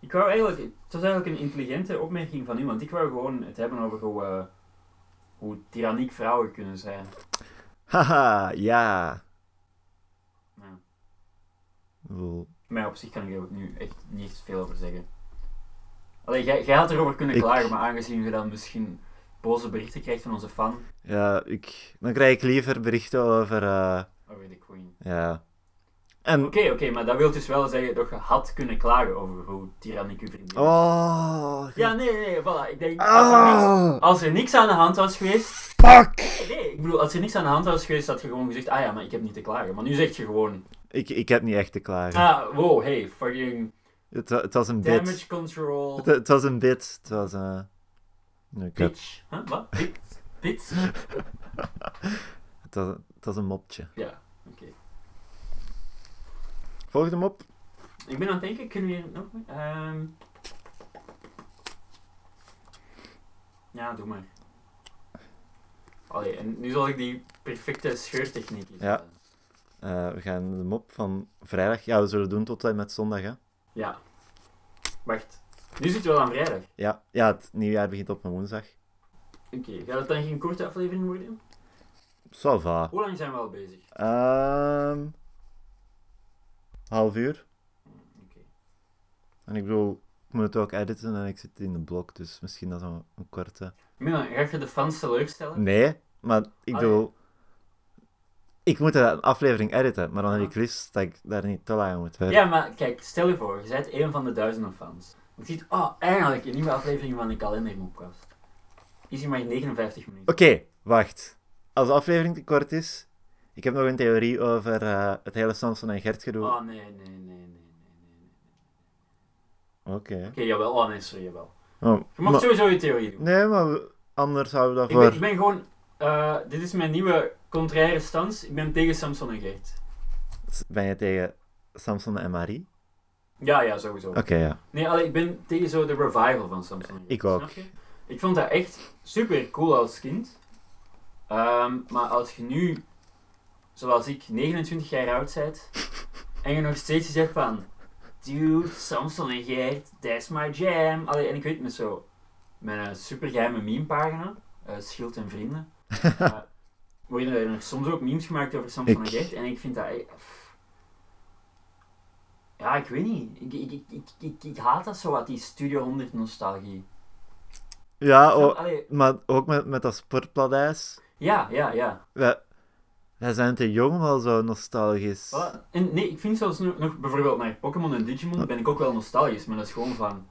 Speaker 1: Ik wou eigenlijk, het was eigenlijk een intelligente opmerking van u, want ik wou gewoon het hebben over hoe, eh, hoe tyranniek vrouwen kunnen zijn.
Speaker 2: Haha, ja.
Speaker 1: Ja.
Speaker 2: Wel,
Speaker 1: Maar op zich kan ik er ook nu echt niet echt veel over zeggen. Allee, jij, jij had erover kunnen
Speaker 2: Ik-
Speaker 1: klagen, maar aangezien je dan misschien boze berichten krijgt van onze fan
Speaker 2: Ja, ik, dan krijg ik liever berichten over... eh,
Speaker 1: over de queen.
Speaker 2: ja. En...
Speaker 1: Oké, oké, maar dat wil dus wel zeggen dat je had kunnen klagen over hoe tyranniek je vriendin is.
Speaker 2: Oh...
Speaker 1: Ja, nee, nee, nee, voilà. Ik denk, als er, niks,
Speaker 2: Ah,
Speaker 1: als er niks aan de hand was geweest...
Speaker 2: fuck!
Speaker 1: Nee, ik bedoel, als er niks aan de hand was geweest, had je gewoon gezegd, ah ja, maar ik heb niet te klagen. Maar nu zeg je gewoon,
Speaker 2: Ik, ik heb niet echt te klagen.
Speaker 1: ah, wow, hey, fucking
Speaker 2: Het, wa- het was een bit.
Speaker 1: damage control,
Speaker 2: Het, het was een bit. Het was eh, ik heb-
Speaker 1: bitch. Huh, wat? Bit? Bit?
Speaker 2: het, was, het was een mopje.
Speaker 1: Ja, oké.
Speaker 2: Volgende mop.
Speaker 1: Ik ben aan het denken, kunnen we hier nog... ehm Ja, doe maar. Allee, en nu zal ik die perfecte scheurtechniek
Speaker 2: Ja.
Speaker 1: inzetten.
Speaker 2: Eh, we gaan de mop van vrijdag. Ja, we zullen doen tot en met zondag. Hè?
Speaker 1: Ja. Wacht. Nu zitten we al aan vrijdag.
Speaker 2: Ja, ja, het nieuwjaar begint op een woensdag.
Speaker 1: Oké, gaat het dan geen korte aflevering worden?
Speaker 2: Ça va.
Speaker 1: Hoe lang zijn we al bezig?
Speaker 2: Ehm, half uur.
Speaker 1: Oké.
Speaker 2: En ik bedoel, ik moet het ook editen en ik zit in de blok, dus misschien dat is een, een korte.
Speaker 1: Milan, ga je de fans teleurstellen?
Speaker 2: Nee, maar ik
Speaker 1: Ah,
Speaker 2: bedoel. Ik moet een aflevering editen, maar dan heb ik liefst dat ik daar niet te lang aan moet werken.
Speaker 1: Ja, maar kijk, stel je voor, je bent een van de duizenden fans. Je ziet, oh, eindelijk een nieuwe aflevering van de kalendermopkast. Is hier maar 59 minuten.
Speaker 2: Oké, wacht. Als de aflevering te kort is, ik heb nog een theorie over eh, het hele Samson en Gert gedoe.
Speaker 1: Oh, nee, nee, nee, nee, nee, nee. nee.
Speaker 2: Oké.
Speaker 1: Oké, jawel, oh nee, sorry, jawel.
Speaker 2: Oh,
Speaker 1: Je mag
Speaker 2: maar-
Speaker 1: sowieso je theorie doen.
Speaker 2: Nee, maar we- anders houden we dat
Speaker 1: Ik ben,
Speaker 2: voor.
Speaker 1: ik ben gewoon, eh, dit is mijn nieuwe contraire stans. Ik ben tegen Samson en Gert.
Speaker 2: S- Ben je tegen Samson en Marie?
Speaker 1: Ja, ja, sowieso.
Speaker 2: Oké, ja.
Speaker 1: Nee, allee, ik ben tegen zo de revival van Samson. en Gert,
Speaker 2: Ik ook.
Speaker 1: snap je? Ik vond dat echt super cool als kind. Ehm, maar als je nu, zoals ik, 29 jaar oud bent en je nog steeds zegt van, dude, Samson en Gert, that's my jam. Allee, en ik weet me zo, mijn eh, supergeheime memepagina, eh Schild en Vrienden, eh, worden er nog soms ook memes gemaakt over Samson
Speaker 2: Ik-
Speaker 1: en Gert. En ik vind dat... eh, pff. Ja, ik weet niet. Ik, ik, ik, ik, ik, ik haat dat zo wat, die Studio 100 nostalgie.
Speaker 2: Ja, oh,
Speaker 1: Allee,
Speaker 2: maar ook met, met dat sportpladijs.
Speaker 1: ja, ja, ja.
Speaker 2: Wij, wij zijn te jong om al zo nostalgisch.
Speaker 1: Voilà. En nee, ik vind zelfs nog, nog bijvoorbeeld naar Pokémon en Digimon ben ik ook wel nostalgisch, maar dat is gewoon van.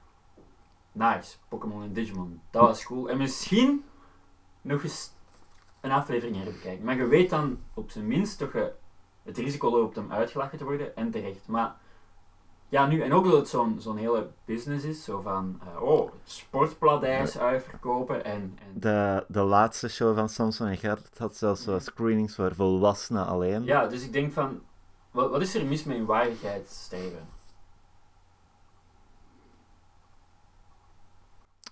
Speaker 1: Nice, Pokémon en Digimon. Dat was cool. En misschien nog eens een aflevering herbekijken. Maar je weet dan op zijn minst dat je het risico loopt om uitgelachen te worden en terecht. Maar ja, nu, en ook dat het zo'n zo'n hele business is, zo van, eh, oh, sportpladijs uitverkopen en, en
Speaker 2: De, de laatste show van Samson en Gert had zelfs zo screenings voor volwassenen alleen.
Speaker 1: Ja, dus ik denk van, wat, wat is er mis met in waardigheid streven?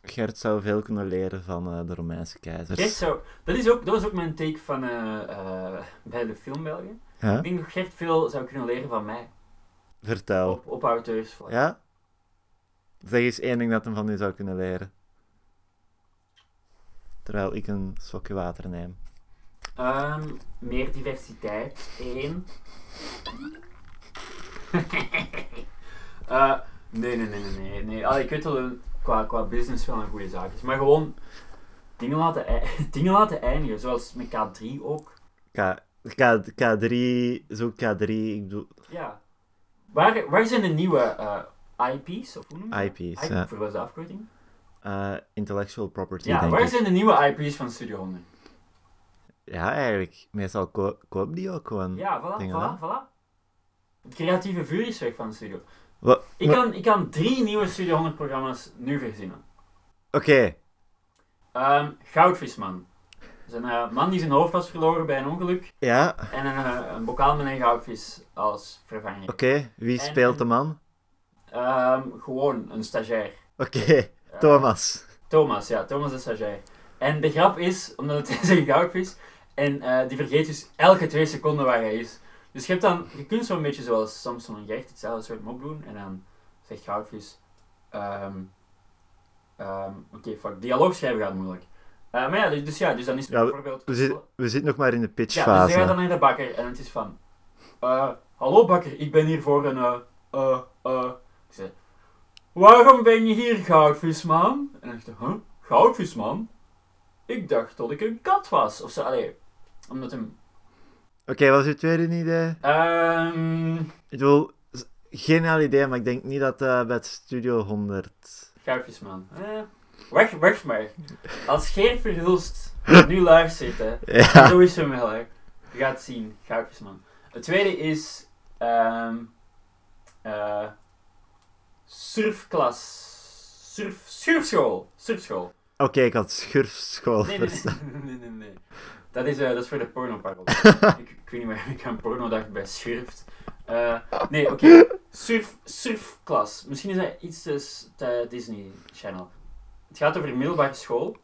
Speaker 2: Gert zou veel kunnen leren van eh, de Romeinse keizers.
Speaker 1: Gert zou, dat, is ook, dat was ook mijn take van, eh, eh, bij de film België.
Speaker 2: Ja?
Speaker 1: Ik denk dat Gert veel zou kunnen leren van mij,
Speaker 2: Vertel.
Speaker 1: op, op auteursvlak.
Speaker 2: Ja? Zeg eens één ding dat hem van u zou kunnen leren. Terwijl ik een slokje water neem.
Speaker 1: Ehm, meer diversiteit, één. Eh, nee, nee, nee, nee, nee. nee. Allee, ik weet dat het qua, qua business wel een goede zaak is, maar gewoon dingen laten, ei- dingen laten eindigen, zoals met K3 ook.
Speaker 2: K, K, K3, zoek K3, ik bedoel
Speaker 1: Ja. Waar, waar zijn de nieuwe eh, IP's? Of hoe noem je dat?
Speaker 2: IP's,
Speaker 1: I-
Speaker 2: ja.
Speaker 1: Voor wat is de afkorting?
Speaker 2: eh, intellectual property,
Speaker 1: ja,
Speaker 2: denk
Speaker 1: waar
Speaker 2: ik.
Speaker 1: zijn de nieuwe IP's van Studio 100?
Speaker 2: Ja, eigenlijk. Meestal ko koop die ook gewoon.
Speaker 1: Ja, voilà,
Speaker 2: Hm, Dingen,
Speaker 1: voilà, voilà. Het creatieve vuur is weg van Studio.
Speaker 2: Wa-
Speaker 1: Ik
Speaker 2: maar-
Speaker 1: kan, ik kan drie nieuwe Studio 100 programma's nu verzinnen.
Speaker 2: Oké,
Speaker 1: Ehm, Goudvisman. Dat is een eh, man die zijn hoofd was verloren bij een ongeluk.
Speaker 2: ja,
Speaker 1: En een, eh, een bokaal met een goudvis als vervanging.
Speaker 2: oké. Wie
Speaker 1: En-
Speaker 2: speelt
Speaker 1: en-
Speaker 2: de man?
Speaker 1: Ehm, gewoon een stagiair.
Speaker 2: Oké,
Speaker 1: Eh,
Speaker 2: Thomas.
Speaker 1: Thomas, ja, Thomas de Stagiair. En de grap is, omdat het zijn goudvis is, en eh, die vergeet dus elke twee seconden waar hij is. Dus je, hebt dan, je kunt zo'n beetje zoals Samson en Gert hetzelfde soort mop doen, en dan zegt goudvis, ehm, ehm, oké, fuck, dialoog schrijven gaat moeilijk. Eh, maar ja, dus, dus ja, dus dan is het
Speaker 2: Ja, we-
Speaker 1: bijvoorbeeld...
Speaker 2: We, zit, we zitten nog maar in de
Speaker 1: Ja, dus
Speaker 2: pitchfase.
Speaker 1: je gaat dan naar de bakker en het is van... eh, Hallo bakker, ik ben hier voor een... eh, eh, eh." Ik zeg... Waarom ben je hier, goudvisman? En ik dacht, huh? Goudvisman? Ik dacht dat ik een kat was. Of zo, allee. Omdat hem...
Speaker 2: Oké, wat is uw tweede idee?
Speaker 1: Ehm...
Speaker 2: Ik bedoel, z- geniaal idee, maar ik denk niet dat eh, bij het Studio 100...
Speaker 1: goudvisman. Eh, weg, weg maar. Als Geert Verhulst nu luistert, hè.
Speaker 2: Ja,
Speaker 1: Zo is hem wel, hè. Je gaat het zien. Goudjes, man. Het tweede is... ehm eh, surfklas. Surf, surfschool. Surfschool.
Speaker 2: oké, ik had schurfschool
Speaker 1: Nee, nee,
Speaker 2: verstaan.
Speaker 1: nee. nee, nee, nee. Dat, is, eh, dat is voor de pornoparodie. ik, ik weet niet waar ik aan porno dacht bij surft. Eh, nee, oké. Surf, surfklas. Misschien is dat iets te, s- te Disney Channel. Het gaat over een middelbare school,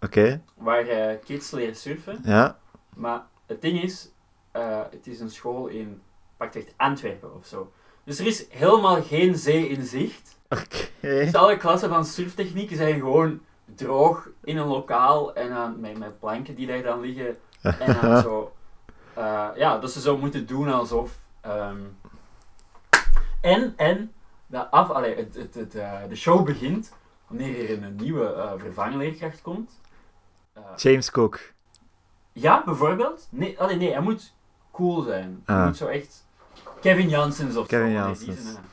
Speaker 2: Oké,
Speaker 1: waar eh, kids leren surfen.
Speaker 2: ja.
Speaker 1: Maar het ding is, eh, het is een school in pakt echt Antwerpen of zo. Dus er is helemaal geen zee in zicht.
Speaker 2: Oké.
Speaker 1: Dus alle klassen van surftechnieken zijn gewoon droog in een lokaal en dan met, met planken die daar dan liggen. En dan zo. eh, ja, dat ze zo moeten doen alsof. ehm, en, en, dat af, allee, het, het, het, eh, de show begint wanneer er een nieuwe eh vervangleerkracht komt. Eh,
Speaker 2: James Cook.
Speaker 1: ja, bijvoorbeeld. Nee, allee, nee, hij moet cool zijn. Hij
Speaker 2: Ah.
Speaker 1: moet zo echt Kevin Janssens of
Speaker 2: Kevin
Speaker 1: zo. Allee, die
Speaker 2: Janssens.
Speaker 1: zijn, eh,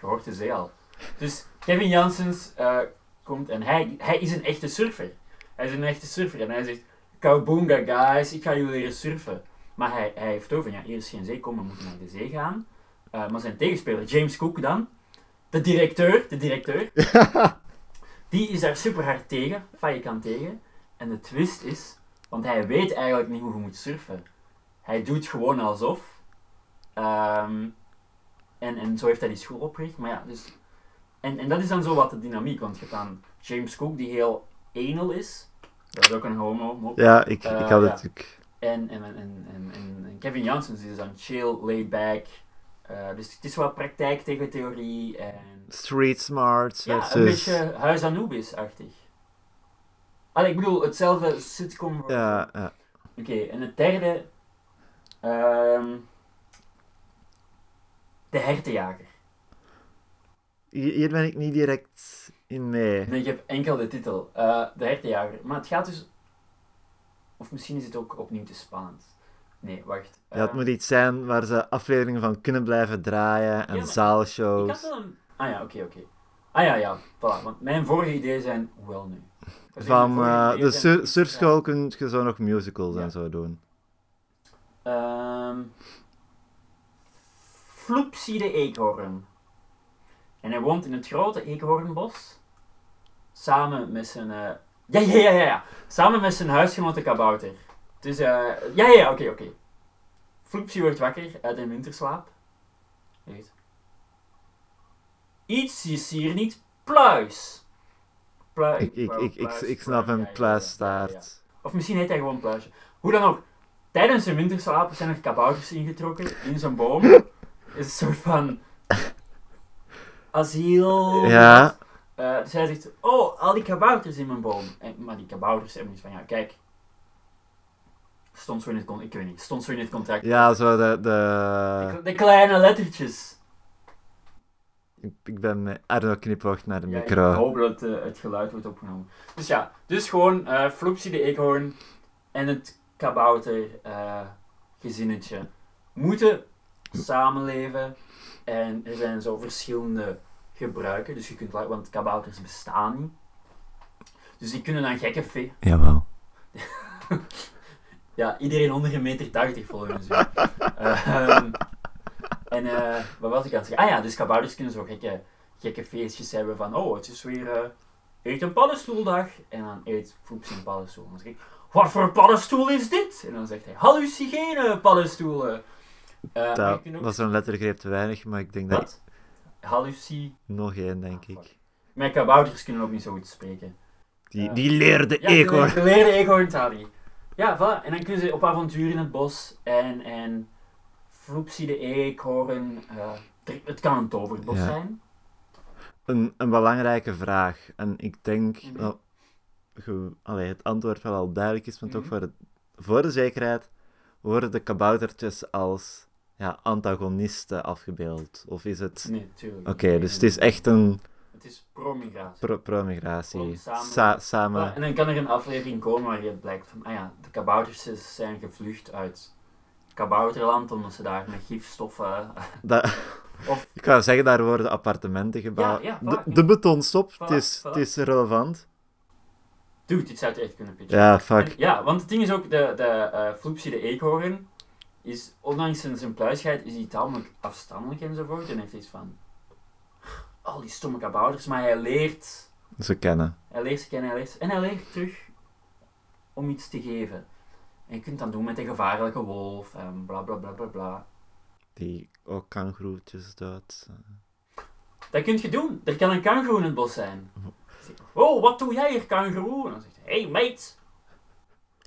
Speaker 1: Je hoort de zee al. Dus Kevin Janssens eh, komt en hij, hij is een echte surfer. Hij is een echte surfer en hij zegt: Kaboonga guys, ik ga jullie leren surfen. Maar hij, hij heeft over, ja, hier is geen zee, kom, we moeten naar de zee gaan. Eh, maar zijn tegenspeler, James Cook dan, de directeur, de directeur, die is daar super hard tegen, faillikant tegen. En de twist is, want hij weet eigenlijk niet hoe je moet surfen. Hij doet gewoon alsof. Ehm, en, en zo heeft hij die school opgericht. Maar ja, dus... En, en dat is dan zo wat de dynamiek, want je hebt dan James Cook die heel anal is. Dat is ook een homo. mop.
Speaker 2: Ja, ik,
Speaker 1: Eh,
Speaker 2: ik had
Speaker 1: ja.
Speaker 2: het ook.
Speaker 1: En, en, en, en, en, en Kevin Janssens is dan chill, laid back. Eh, dus het is wel praktijk tegen theorie. En,
Speaker 2: Street Smarts
Speaker 1: ja,
Speaker 2: versus...
Speaker 1: een beetje Huis Anubis-achtig. Allee, ik bedoel, hetzelfde sitcom.
Speaker 2: Ja, ja.
Speaker 1: Oké, en het derde. ehm, de hertenjager.
Speaker 2: Hier hier ben ik niet direct in mee.
Speaker 1: Nee, ik heb enkel de titel. eh, de hertenjager. Maar het gaat dus... Of misschien is het ook opnieuw te spannend. Nee, wacht.
Speaker 2: Ja, het
Speaker 1: Eh,
Speaker 2: moet iets zijn waar ze afleveringen van kunnen blijven draaien en
Speaker 1: Ja, maar- Ik had
Speaker 2: zaalshows.
Speaker 1: wel een... Ah ja, oké, oké. Ah ja, ja, voilà. Want mijn vorige ideeën zijn... Hoewel nu. Dus
Speaker 2: Van
Speaker 1: mijn vorige
Speaker 2: eh,
Speaker 1: ideeën
Speaker 2: de
Speaker 1: zijn-
Speaker 2: sur- surfschool kun je zo nog musicals
Speaker 1: Ja.
Speaker 2: en zo doen.
Speaker 1: Ehm Floepsie de eekhoorn. En hij woont in het grote eekhoornbos. Samen met zijn... eh, Ja, ja, ja, ja, ja. Samen met zijn huisgenoot de kabouter. Dus, eh... Ja, ja, ja, oké, oké. Floepsie wordt wakker uit een winterslaap. Echt. Iets is hier niet pluis. Plui,
Speaker 2: Ik, ik,
Speaker 1: pluis,
Speaker 2: ik, ik,
Speaker 1: pluis,
Speaker 2: ik snap
Speaker 1: pluis, ja, ja,
Speaker 2: een
Speaker 1: ja, ja, ja.
Speaker 2: pluistaart.
Speaker 1: Of misschien heet hij gewoon pluisje. Hoe dan ook. Tijdens zijn winterslaap zijn er kabouters ingetrokken in zijn boom. Het is een soort van... Asiel.
Speaker 2: Ja,
Speaker 1: Eh, dus hij zegt, oh, al die kabouters in mijn boom. En, maar die kabouters hebben iets van, ja, kijk. Stond zo in het contract. Ik weet niet. Stond zo in het contract.
Speaker 2: ja, zo de...
Speaker 1: De,
Speaker 2: de...
Speaker 1: de kleine lettertjes.
Speaker 2: Ik, ik ben met Arno knipoogt naar de
Speaker 1: Ja, Ik
Speaker 2: micro.
Speaker 1: hoop dat eh, het geluid wordt opgenomen. Dus ja, dus gewoon eh Floepsie de eekhoorn en het kabouter eh, gezinnetje moeten samenleven. En er zijn zo verschillende gebruiken. Dus je kunt, la- want kabouters bestaan niet. Dus die kunnen dan gekke ve-
Speaker 2: Jawel.
Speaker 1: ja, iedereen onder een meter 80 volgens mij. Ehm, en eh, wat was ik aan het zeggen? Ah ja, dus kabouters kunnen zo gekke, gekke feestjes hebben van oh, het is weer eh, eet een paddenstoeldag. En dan eet Foeps een paddenstoel. En dan zeg ik, wat voor paddenstoel is dit? En dan zegt hij, hallucinogene paddenstoelen. Eh, maar je
Speaker 2: Dat
Speaker 1: kunt ook-
Speaker 2: was een lettergreep te weinig, maar ik denk dat...
Speaker 1: Wat? halluci.
Speaker 2: Nog één, denk
Speaker 1: Ah,
Speaker 2: ik.
Speaker 1: fuck. Mijn kabouters kunnen ook niet zo goed spreken.
Speaker 2: Die,
Speaker 1: Ja.
Speaker 2: die leerde
Speaker 1: Ja,
Speaker 2: eekhoorn.
Speaker 1: de geleerde eekhoorn Tali. Ja, voilà. En dan kunnen ze op avontuur in het bos en, en Floepsie de eekhoorn. eh, er- het kan een toverbos
Speaker 2: Ja.
Speaker 1: zijn.
Speaker 2: Een, een belangrijke vraag. En ik denk
Speaker 1: Mhm.
Speaker 2: dat ge- allee, het antwoord wel al duidelijk is, maar toch
Speaker 1: Mhm.
Speaker 2: voor, het- voor de zekerheid worden de kaboutertjes als ja, antagonisten afgebeeld. Of is het...
Speaker 1: Nee, tuurlijk.
Speaker 2: Oké, dus het is echt een
Speaker 1: Het is promigratie.
Speaker 2: pro- promigratie.
Speaker 1: Gewoon samen-
Speaker 2: Sa- samen...
Speaker 1: Ja, en dan kan er een aflevering komen waarin het blijkt van, ah ja, de kabouters is- zijn gevlucht uit kabouterland omdat ze daar met gifstoffen... eh,
Speaker 2: Da-
Speaker 1: Of-
Speaker 2: ik wou zeggen, daar worden appartementen gebouwd.
Speaker 1: Ja, ja, voilà.
Speaker 2: de, de betonstop,
Speaker 1: Voilà,
Speaker 2: het, is,
Speaker 1: voilà.
Speaker 2: het is relevant.
Speaker 1: Dude, dit zou het echt kunnen pitchen.
Speaker 2: Ja, fuck.
Speaker 1: En ja, want het ding is ook, de, de eh, Floepsie de eekhoorn, is, ondanks zijn, zijn pluisheid, is hij tamelijk afstandelijk enzovoort. En heeft iets van, al die stomme kabouters, maar hij leert,
Speaker 2: Ze kennen.
Speaker 1: hij leert ze kennen, hij leert ze- en hij leert terug om iets te geven. En je kunt dat doen met de gevaarlijke wolf en bla bla bla bla bla.
Speaker 2: Die ook kangroetjes dood.
Speaker 1: Dat kun je doen. Er kan een kangoeroe in het bos zijn. Oh, wat doe jij hier, kangoeroe? En dan zegt hij, hey mate.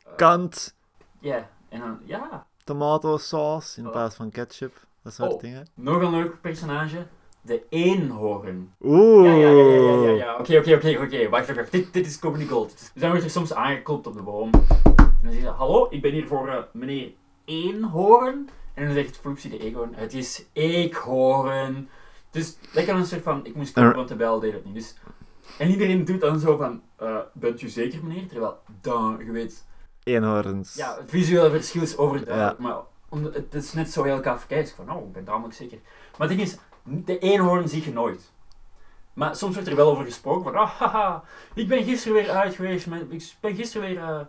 Speaker 1: Eh,
Speaker 2: Kant,
Speaker 1: Ja, en dan, ja.
Speaker 2: tomatosaus in
Speaker 1: Voilà.
Speaker 2: plaats van ketchup. Dat soort
Speaker 1: Oh.
Speaker 2: dingen.
Speaker 1: Nog een leuk personage. De eenhoorn.
Speaker 2: Oeh.
Speaker 1: Ja, ja, ja, ja, ja, ja, ja. Oké, oké, oké, oké. Wacht, wacht, wacht. Dit, dit is Comedy Gold. Dus dan wordt er soms aangeklopt op de boom. En dan zegt ze, hallo, ik ben hier voor eh, meneer Eenhoorn. En dan zegt Floepsie de eekhoorn, het is eekhoorn. Dus dat kan een soort van, ik moest komen, want de bel deed het niet. Dus, en iedereen doet dan zo van, eh, bent u zeker meneer? Terwijl, dan, je weet,
Speaker 2: Eenhoorns.
Speaker 1: ja, het visuele verschil is overduidelijk,
Speaker 2: Ja.
Speaker 1: maar om- het is net zo heel gaaf kijkt. Van, oh, ik ben tamelijk zeker. Maar het ding is, de eenhoorn zie je nooit. Maar soms wordt er wel over gesproken van, ah, haha, ik ben gisteren weer uit geweest, met, ik ben gisteren weer eh,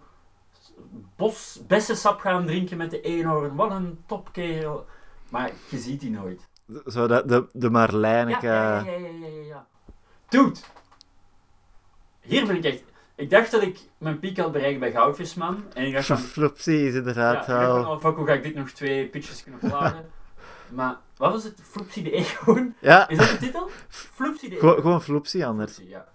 Speaker 1: bos, bessensap gaan drinken met de eenhoorn, wat een topkerel. Maar je ziet die nooit.
Speaker 2: Zo dat de, de
Speaker 1: Ja,
Speaker 2: Marlijneke...
Speaker 1: ja, ja, ja, ja, ja, ja, ja. Dude, hier ben ik echt... Ik dacht dat ik mijn piek had bereikt bij Goudvisman. En ik dacht van,
Speaker 2: Flopsie is
Speaker 1: ja, ik
Speaker 2: inderdaad
Speaker 1: dacht van,
Speaker 2: wel...
Speaker 1: oh fuck, hoe ga ik dit nog twee pitches kunnen plaatsen? maar wat was het? Floepsie de Eekhoorn?
Speaker 2: Ja,
Speaker 1: E Is dat de titel? Floepsie de
Speaker 2: gewoon,
Speaker 1: Eekhoorn.
Speaker 2: gewoon Flopsie anders.
Speaker 1: Floepsie, E, ja.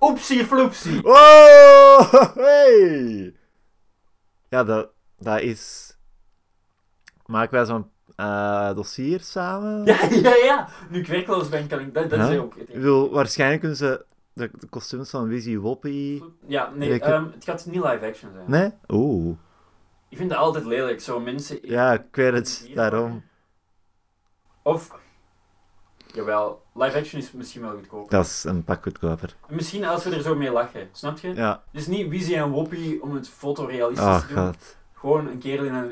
Speaker 1: Oepsie Floepsie!
Speaker 2: Oh, hey! Ja, dat, dat is... Maken wij zo'n eh, dossier samen?
Speaker 1: Ja, ja, ja. Nu ik werkloos ben, kan ik... Dat, dat is
Speaker 2: Ja.
Speaker 1: ook...
Speaker 2: Ik bedoel, waarschijnlijk kunnen ze de, de kostuums van Wizzy Woppy...
Speaker 1: Ja, nee,
Speaker 2: Ik-
Speaker 1: ehm, het gaat niet live action zijn.
Speaker 2: Nee? Oeh.
Speaker 1: Ik vind dat altijd lelijk, zo mensen... in-
Speaker 2: Ja, ik weet het,
Speaker 1: hier.
Speaker 2: daarom.
Speaker 1: Of... Jawel, live action is misschien wel goedkoop.
Speaker 2: Dat is een pak goedkoper.
Speaker 1: Misschien als we er zo mee lachen, snap je?
Speaker 2: Ja.
Speaker 1: Dus niet Wizzy en Woppie om het fotorealistisch
Speaker 2: Oh,
Speaker 1: te doen.
Speaker 2: god.
Speaker 1: Gewoon een kerel in een,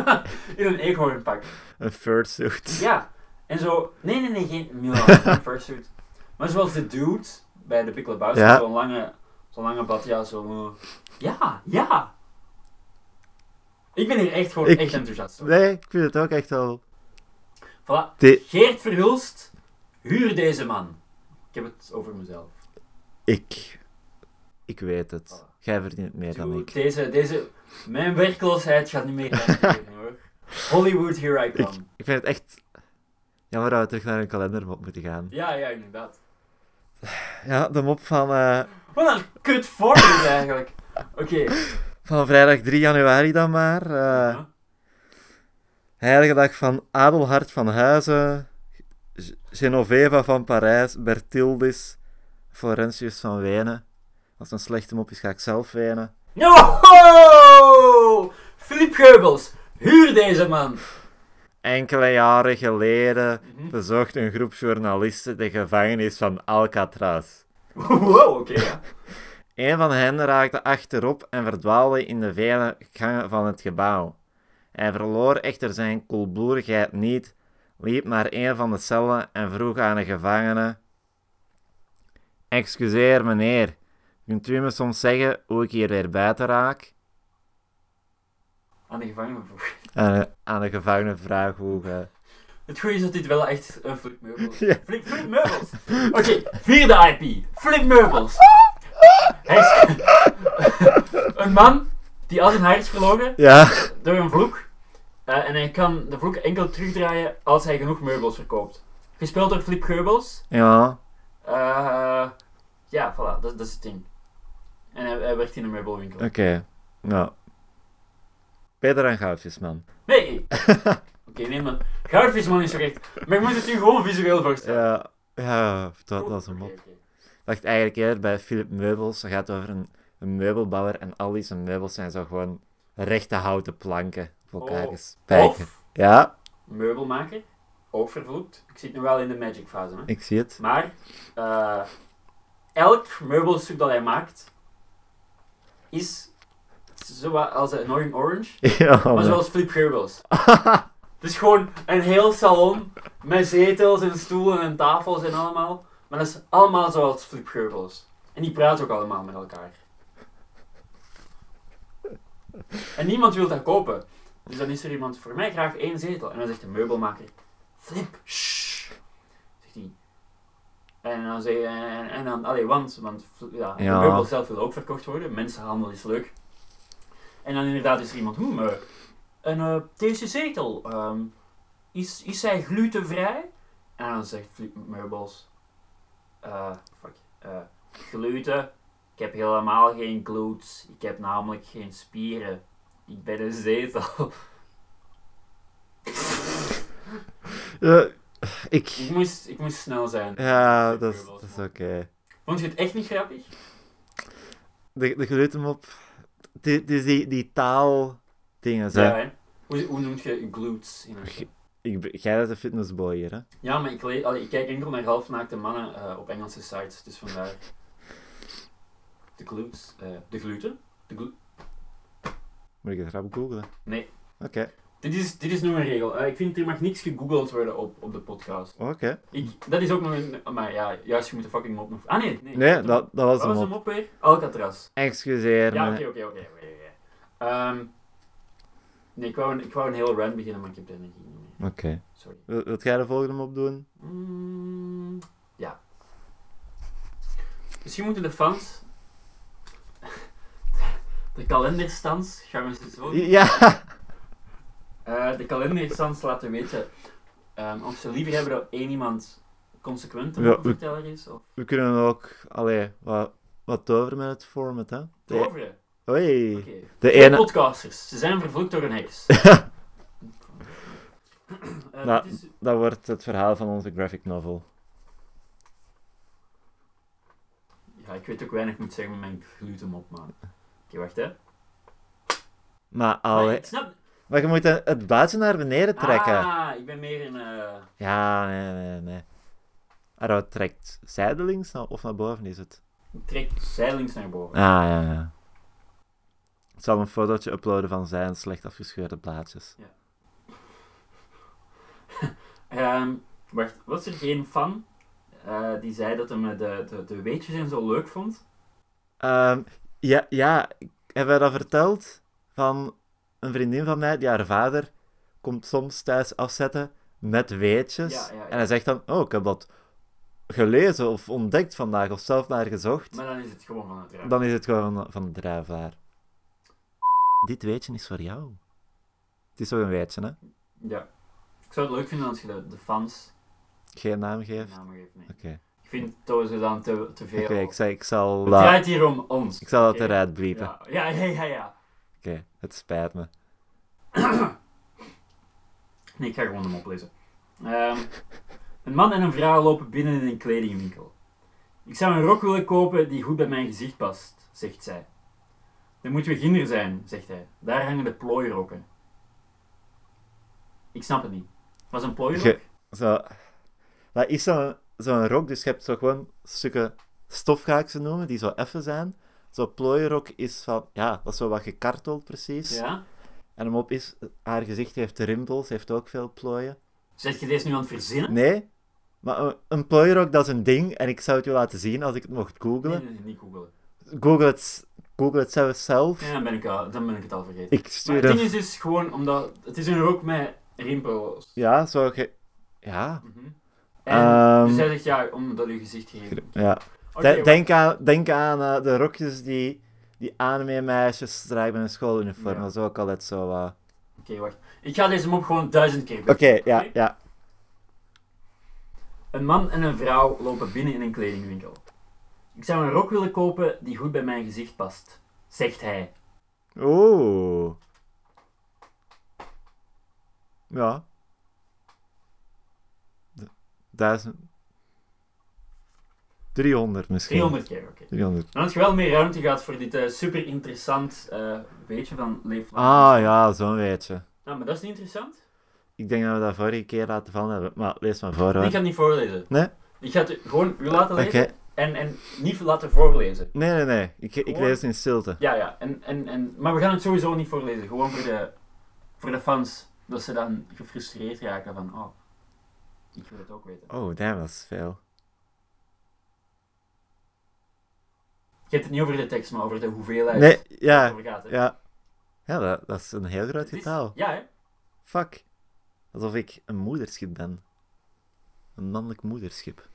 Speaker 1: in een eekhoornpak.
Speaker 2: Een fursuit.
Speaker 1: Ja. En zo... Nee, nee, nee, geen Milan. geen fursuit. Maar zoals de dude bij de Big Lebowski.
Speaker 2: Ja.
Speaker 1: Zo'n lange, zo'n lange badjas. Zo, eh, ja, ja. Ik ben hier echt gewoon
Speaker 2: Ik-
Speaker 1: echt enthousiast. over.
Speaker 2: Nee, ik vind het ook echt wel...
Speaker 1: Voilà.
Speaker 2: Dit-
Speaker 1: Geert Verhulst, huur deze man. Ik heb het over mezelf.
Speaker 2: Ik... Ik weet het.
Speaker 1: Voilà.
Speaker 2: Jij verdient meer dan
Speaker 1: Dude,
Speaker 2: ik.
Speaker 1: Deze, deze... Mijn werkloosheid gaat niet meer uitgeven, hoor. Hollywood, here I
Speaker 2: Ik,
Speaker 1: come.
Speaker 2: ik vind het echt... Jammer dat we terug naar een kalendermop moeten gaan.
Speaker 1: Ja, ja, inderdaad.
Speaker 2: Ja, de mop van, eh,
Speaker 1: Wat een kut voorbeeld eigenlijk. Oké.
Speaker 2: van vrijdag 3 januari dan maar. eh,
Speaker 1: Ja.
Speaker 2: Heilige dag van Adelhard van Huizen, G- Genoveva van Parijs, Bertildis, Florentius van Wenen. Als het een slechte mop is, ga ik zelf wenen.
Speaker 1: Joho! Filip Geubels, huur deze man.
Speaker 2: Enkele jaren geleden
Speaker 1: Mhm.
Speaker 2: bezocht een groep journalisten de gevangenis van Alcatraz.
Speaker 1: Wow, oké. ja.
Speaker 2: Een van hen raakte achterop en verdwaalde in de vele gangen van het gebouw. Hij verloor echter zijn koelbloedigheid niet, liep naar een van de cellen en vroeg aan de gevangene: Excuseer meneer, kunt u me soms zeggen hoe ik hier weer buiten raak?
Speaker 1: Aan de gevangenen vroeg.
Speaker 2: En aan de gevangene vraag hoe. eh,
Speaker 1: Het goede is dat dit wel echt eh, een Flip Meubels
Speaker 2: Ja.
Speaker 1: Flip, Flip Meubels! Oké, vierde IP. Flip Meubels. Hij is... een man die al zijn haar is verloren
Speaker 2: Ja,
Speaker 1: door een vloek. Eh, en hij kan de vloek enkel terugdraaien als hij genoeg meubels verkoopt. Gespeeld door Flip Geubels.
Speaker 2: Ja.
Speaker 1: Eh, ja, voilà, dat, dat is het ding. En hij, hij werkt in een meubelwinkel.
Speaker 2: Oké. Nou. Beter dan goudvis, man.
Speaker 1: Nee! Oké, nee, maar goudvisman is terecht. Maar je moet het u gewoon visueel voorstellen.
Speaker 2: Ja. Ja, dat, dat is een
Speaker 1: Oké,
Speaker 2: mop.
Speaker 1: oké.
Speaker 2: Ik dacht eigenlijk eerder bij Philip Meubels. Dat gaat over een, een meubelbouwer en al die zijn meubels zijn zo gewoon rechte houten planken op elkaar
Speaker 1: Oh.
Speaker 2: gespijkerd.
Speaker 1: Of
Speaker 2: Ja,
Speaker 1: meubelmaker, ook vervloekt. Ik zit nu wel in de magic fase. Hè?
Speaker 2: ik zie het.
Speaker 1: Maar eh, elk meubelstuk dat hij maakt is zowat als een Orange Orange,
Speaker 2: Ja, man.
Speaker 1: maar zoals Flip Geubels. Dus gewoon een heel salon met zetels en stoelen en tafels en allemaal. Maar dat is allemaal zoals Flip Geubels. En die praten ook allemaal met elkaar. En niemand wil dat kopen. Dus dan is er iemand voor mij graag één zetel. En dan zegt de meubelmaker: Flip, shh. Zegt hij. En dan zeg je, en, en- en dan, allee, want, want ja,
Speaker 2: Ja.
Speaker 1: de meubel zelf wil ook verkocht worden. Mensenhandel is leuk. En dan inderdaad is er iemand, hmm, eh, en eh, deze zetel, ehm, is, is hij glutenvrij? En dan zegt Flip Meubels, eh, fuck, eh, gluten? Ik heb helemaal geen glutes, ik heb namelijk geen spieren. Ik ben een zetel.
Speaker 2: Ja, ik...
Speaker 1: ik, moest, ik moest snel zijn.
Speaker 2: Ja,
Speaker 1: Flip
Speaker 2: dat is,
Speaker 1: Meubels,
Speaker 2: dat is
Speaker 1: man.
Speaker 2: oké.
Speaker 1: Vond je het echt niet grappig?
Speaker 2: De, de glutenmop. Het is die, die taaldingen, zo.
Speaker 1: Ja, hè? Hoe, hoe noem je glutes? In het-
Speaker 2: Ik, be- jij bent een fitnessboy hier, hè?
Speaker 1: ja, maar ik, le- allee, ik kijk enkel naar halfnaakte mannen eh, op Engelse sites, dus vandaar. De glutes, eh, de gluten? De glu-
Speaker 2: Moet ik het rap googlen?
Speaker 1: Nee.
Speaker 2: Oké,
Speaker 1: dit, is, dit is nog een regel. Eh, ik vind, er mag niks gegoogeld worden op, op de podcast.
Speaker 2: oké.
Speaker 1: Ik, dat is ook nog een... Maar ja, juist, je moet de fucking mop nog... Ah, nee. Nee,
Speaker 2: Nee, dat, dat was
Speaker 1: Wat was
Speaker 2: hem
Speaker 1: de
Speaker 2: op.
Speaker 1: mop weer? Alcatraz.
Speaker 2: Excuseer
Speaker 1: Ja,
Speaker 2: me.
Speaker 1: oké, oké, oké. oké, oké. Ehm, Nee, ik wou, een, ik wou een heel run beginnen, maar ik heb de energie niet meer.
Speaker 2: Oké.
Speaker 1: Sorry.
Speaker 2: Wil- Wilt jij de volgende mop doen?
Speaker 1: Mm, ja. Misschien moeten de fans... De kalenderstans, gaan we ze zo doen.
Speaker 2: Ja!
Speaker 1: Eh, de kalenderstans laten weten ehm, of ze liever hebben dat één iemand consequent een
Speaker 2: Ja, we-
Speaker 1: verteller is of
Speaker 2: We kunnen ook, allee, wat, wat toveren met het format, hè? De,
Speaker 1: toveren.
Speaker 2: hoi!
Speaker 1: Oh. Oké.
Speaker 2: De
Speaker 1: Twee
Speaker 2: ene...
Speaker 1: Podcasters, ze zijn vervloekt door een heks. Eh,
Speaker 2: Nou.
Speaker 1: dit is-
Speaker 2: Dat wordt het verhaal van onze graphic novel.
Speaker 1: ja, ik weet ook weinig moet zeggen met mijn glutenmop, man. Oké, wacht hè.
Speaker 2: Maar,
Speaker 1: Maar
Speaker 2: allee...
Speaker 1: ik snap...
Speaker 2: Maar je moet het het buiten naar beneden trekken.
Speaker 1: Ah, ik ben meer in... eh,
Speaker 2: Ja, nee, nee, nee. Maar dat trekt zijdelings na- of naar boven is het?
Speaker 1: Ik trek zijdelings naar boven.
Speaker 2: Ah, ja, ja. Ik zal een fotootje uploaden van zijn slecht afgescheurde blaadjes.
Speaker 1: Ehm, wacht, was er geen fan eh, die zei dat hij de, de, de weetjes en zo leuk vond?
Speaker 2: Ehm, ja, ja, ik- hebben we dat verteld? Van een vriendin van mij, die haar vader komt soms thuis afzetten met weetjes.
Speaker 1: Ja, ja, ja.
Speaker 2: En hij zegt dan, oh, ik heb dat gelezen of ontdekt vandaag of zelf naar gezocht.
Speaker 1: Maar dan is het gewoon van het raam.
Speaker 2: Dan is het gewoon van, van de druivelaar. Dit weetje is voor jou. Het is toch een weetje, hè?
Speaker 1: Ja. Ik zou het leuk vinden als je de, de fans
Speaker 2: Geen naam
Speaker 1: de
Speaker 2: geeft.
Speaker 1: namen geeft. Nee.
Speaker 2: Oké.
Speaker 1: Ik vind dat ze dan te, te
Speaker 2: Oké,
Speaker 1: veel...
Speaker 2: ik, zei- ik zal
Speaker 1: Het
Speaker 2: dat,
Speaker 1: draait hier om ons.
Speaker 2: ik zal dat
Speaker 1: Oké.
Speaker 2: eruit bliepen.
Speaker 1: Ja, ja, ja, ja. ja.
Speaker 2: Oké, het spijt me.
Speaker 1: Nee, ik ga gewoon hem oplezen. Ehm, een man en een vrouw lopen binnen in een kledingwinkel. Ik zou een rok willen kopen die goed bij mijn gezicht past, zegt zij. Dan moeten we ginder zijn, zegt hij. Daar hangen de plooirokken. Ik snap het niet. Was een plooirok?
Speaker 2: Ge- Zo, dat is zo'n zo'n rok, dus je hebt zo gewoon stukken stof, ga ik ze noemen, die zo effen zijn. Zo'n plooierok is van, ja, dat is zo wat gekarteld precies.
Speaker 1: Ja?
Speaker 2: En hem op is, haar gezicht heeft rimpels, heeft ook veel plooien.
Speaker 1: Zet je deze nu aan het verzinnen?
Speaker 2: Nee, maar een, een plooierok, dat is een ding en ik zou het je laten zien als ik het mocht
Speaker 1: Nee,
Speaker 2: googlen.
Speaker 1: nee, nee, niet googelen.
Speaker 2: Google het, Google het zelf zelf.
Speaker 1: Ja, dan ben ik, al- dan ben ik het al vergeten.
Speaker 2: Ik
Speaker 1: Maar
Speaker 2: stuur
Speaker 1: het ding
Speaker 2: een...
Speaker 1: is dus gewoon omdat... Het is een rok met rimpels.
Speaker 2: Ja, zo ge... Ja.
Speaker 1: Mhm. En, dus
Speaker 2: Ehm
Speaker 1: hij zegt ja, omdat je gezicht gegeven.
Speaker 2: ja.
Speaker 1: Oké,
Speaker 2: De- denk aan, denk aan eh, de rokjes die, die anime-meisjes dragen bij een schooluniform.
Speaker 1: Ja.
Speaker 2: Dat is ook altijd zo wat...
Speaker 1: wacht. wacht. Ik ga deze mop gewoon duizend keer
Speaker 2: Oké,
Speaker 1: doen.
Speaker 2: ja, ja.
Speaker 1: Een man en een vrouw lopen binnen in een kledingwinkel. Ik zou een rok willen kopen die goed bij mijn gezicht past, zegt hij.
Speaker 2: Oeh. Ja. D- Duizend. 300 misschien.
Speaker 1: 300 keer, oké.
Speaker 2: 300.
Speaker 1: Dan had je wel meer ruimte gehad voor dit eh, super interessant eh, weetje van Leef.
Speaker 2: Ah ja, zo'n beetje.
Speaker 1: Nou, maar dat is niet interessant.
Speaker 2: Ik denk dat we dat vorige keer laten vallen hebben. Maar lees maar voor
Speaker 1: Ik
Speaker 2: hoor.
Speaker 1: ga het niet voorlezen.
Speaker 2: Nee?
Speaker 1: Ik ga het gewoon u laten
Speaker 2: Oké.
Speaker 1: lezen en, en niet laten voorlezen.
Speaker 2: Nee, nee, nee. Ik, ik
Speaker 1: Gewoon-
Speaker 2: lees in stilte.
Speaker 1: Ja, ja. En, en, en, maar we gaan het sowieso niet voorlezen. Gewoon voor de, voor de fans. Dat ze dan gefrustreerd raken van, oh, ik wil het ook weten.
Speaker 2: Oh, dat was veel.
Speaker 1: Je hebt het niet over de tekst, maar over de hoeveelheid.
Speaker 2: Nee,
Speaker 1: waar het
Speaker 2: ja.
Speaker 1: over gaat, hè.
Speaker 2: Ja, ja dat, dat is een heel groot
Speaker 1: Het is-
Speaker 2: getal.
Speaker 1: Ja, hè?
Speaker 2: Fuck. Alsof ik een moederschip ben. Een mannelijk moederschip.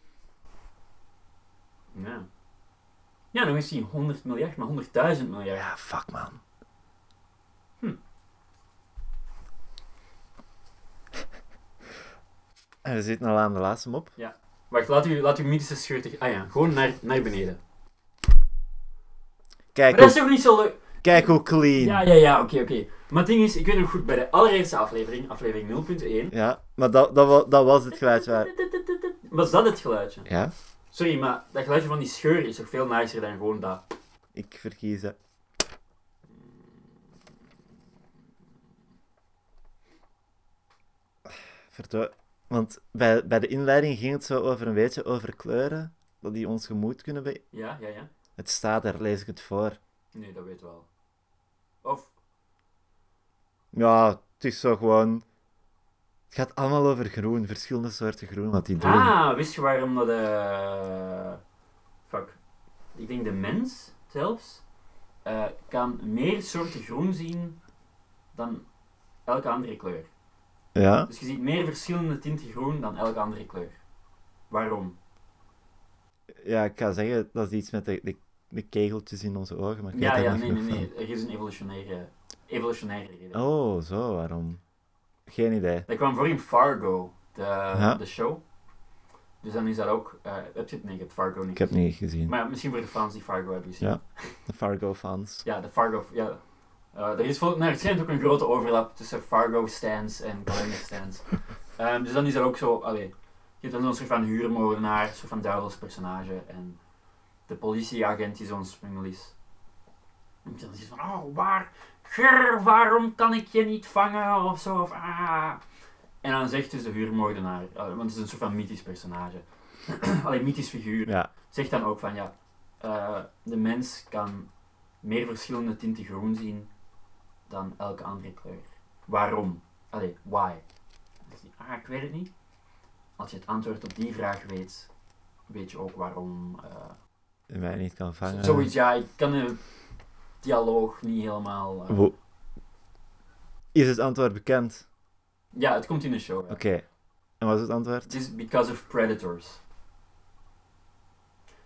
Speaker 1: Ja. Ja, nog eens die 100 miljard, maar 100.000 miljard.
Speaker 2: Ja, fuck man.
Speaker 1: Hm.
Speaker 2: En we zitten al aan de laatste mop.
Speaker 1: Wacht, laat u, laat u mythische scheurtig... Ah ja, gewoon naar, naar beneden.
Speaker 2: Kijk,
Speaker 1: Maar dat is
Speaker 2: hoe,
Speaker 1: toch niet zo leuk?
Speaker 2: kijk hoe clean.
Speaker 1: Ja,
Speaker 2: Ja,
Speaker 1: ja, ja, oké, oké. Maar het ding is, ik weet nog goed, bij de allereerste aflevering, aflevering 0.1...
Speaker 2: maar dat, dat, wa- dat was het geluidje waar...
Speaker 1: Was dat het geluidje?
Speaker 2: Ja,
Speaker 1: Sorry, maar dat geluidje van die scheur is toch veel nicer dan gewoon dat.
Speaker 2: ik verkies het. Verdoe. Want bij, bij de inleiding ging het zo over een beetje over kleuren. Dat die ons gemoed kunnen be-
Speaker 1: Ja, ja, ja.
Speaker 2: Het staat er, lees ik het voor.
Speaker 1: Nee, dat weet wel. Of,
Speaker 2: Ja, het is zo gewoon... Het gaat allemaal over groen, verschillende soorten groen, wat die doen.
Speaker 1: ah, wist je waarom dat... eh fuck. Ik denk de mens zelfs eh, kan meer soorten groen zien dan elke andere kleur.
Speaker 2: Ja,
Speaker 1: Dus je ziet meer verschillende tinten groen dan elke andere kleur. Waarom?
Speaker 2: ja, ik kan zeggen, dat is iets met de, de, de kegeltjes in onze ogen, maar ik
Speaker 1: Ja,
Speaker 2: weet
Speaker 1: ja,
Speaker 2: daar
Speaker 1: nee,
Speaker 2: niet
Speaker 1: nee,
Speaker 2: genoeg
Speaker 1: nee. Er is een evolutionaire, evolutionaire reden.
Speaker 2: van. Oh, zo, waarom? Geen idee.
Speaker 1: Dat kwam voor in Fargo, de,
Speaker 2: Ja.
Speaker 1: de show. Dus dan is dat ook... eh heb je het? Nee, je hebt Fargo niet
Speaker 2: Ik heb
Speaker 1: gezien.
Speaker 2: niet gezien.
Speaker 1: Maar misschien voor de fans die Fargo hebben gezien.
Speaker 2: Ja. De Fargo-fans.
Speaker 1: Ja, de Fargo... Ja. Eh, er is volgens mij schijnt ook een grote overlap tussen Fargo-stands en Calendar-stands. Ehm, dus dan is dat ook zo... Allee, je hebt dan zo'n soort van huurmoordenaar, een soort van duivelspersonage. En de politieagent die zo'n spungel is. En dan is het van, oh, waar... Grr, waarom kan ik je niet vangen? Of zo, of ah... En dan zegt dus de huurmoordenaar, eh, want het is een soort van mythisch personage. Allee, mythisch figuur
Speaker 2: Ja,
Speaker 1: zegt dan ook van ja, eh, de mens kan meer verschillende tinten groen zien dan elke andere kleur. Waarom? Allee, why? Dan zegt hij, ah, ik weet het niet. Als je het antwoord op die vraag weet, weet je ook waarom. eh,
Speaker 2: en mij niet kan vangen.
Speaker 1: zoiets, ja, ik kan de dialoog niet helemaal... eh,
Speaker 2: Wo- Is het antwoord bekend?
Speaker 1: ja, het komt in de show. ja.
Speaker 2: Oké. En wat is het antwoord?
Speaker 1: Het is because of predators.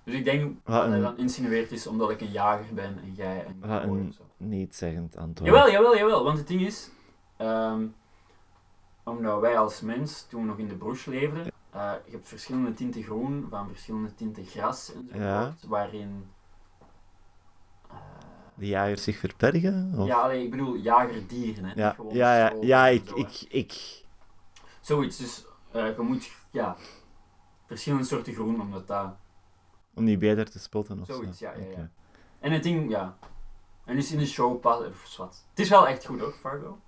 Speaker 1: Dus ik denk
Speaker 2: Wat
Speaker 1: dat hij
Speaker 2: een-
Speaker 1: dan insinueert is omdat ik een jager ben en jij een
Speaker 2: Wat
Speaker 1: kooi
Speaker 2: een-
Speaker 1: of zo.
Speaker 2: Niet zeggend antwoord.
Speaker 1: Jawel, jawel, jawel. Want het ding is, ehm, omdat wij als mens toen we nog in de broes leefden, eh, je hebt verschillende tinten groen van verschillende tinten gras en zo,
Speaker 2: Ja.
Speaker 1: waarin... eh,
Speaker 2: De jagers zich verbergen? Of?
Speaker 1: ja, allee, ik bedoel jagerdieren, hè. niet
Speaker 2: ja,
Speaker 1: gewoon
Speaker 2: ja, ja,
Speaker 1: stropen
Speaker 2: ja,
Speaker 1: en
Speaker 2: ik,
Speaker 1: zo, hè.
Speaker 2: ik, ik...
Speaker 1: Zoiets, dus eh, je moet, ja, verschillende soorten groen, omdat dat...
Speaker 2: Om die beter te spotten of
Speaker 1: Zoiets,
Speaker 2: zo.
Speaker 1: ja, ja, ja.
Speaker 2: Oké.
Speaker 1: En het ding, ja... En dus in de show pas... of zwart. Het is wel echt goed hoor, Fargo.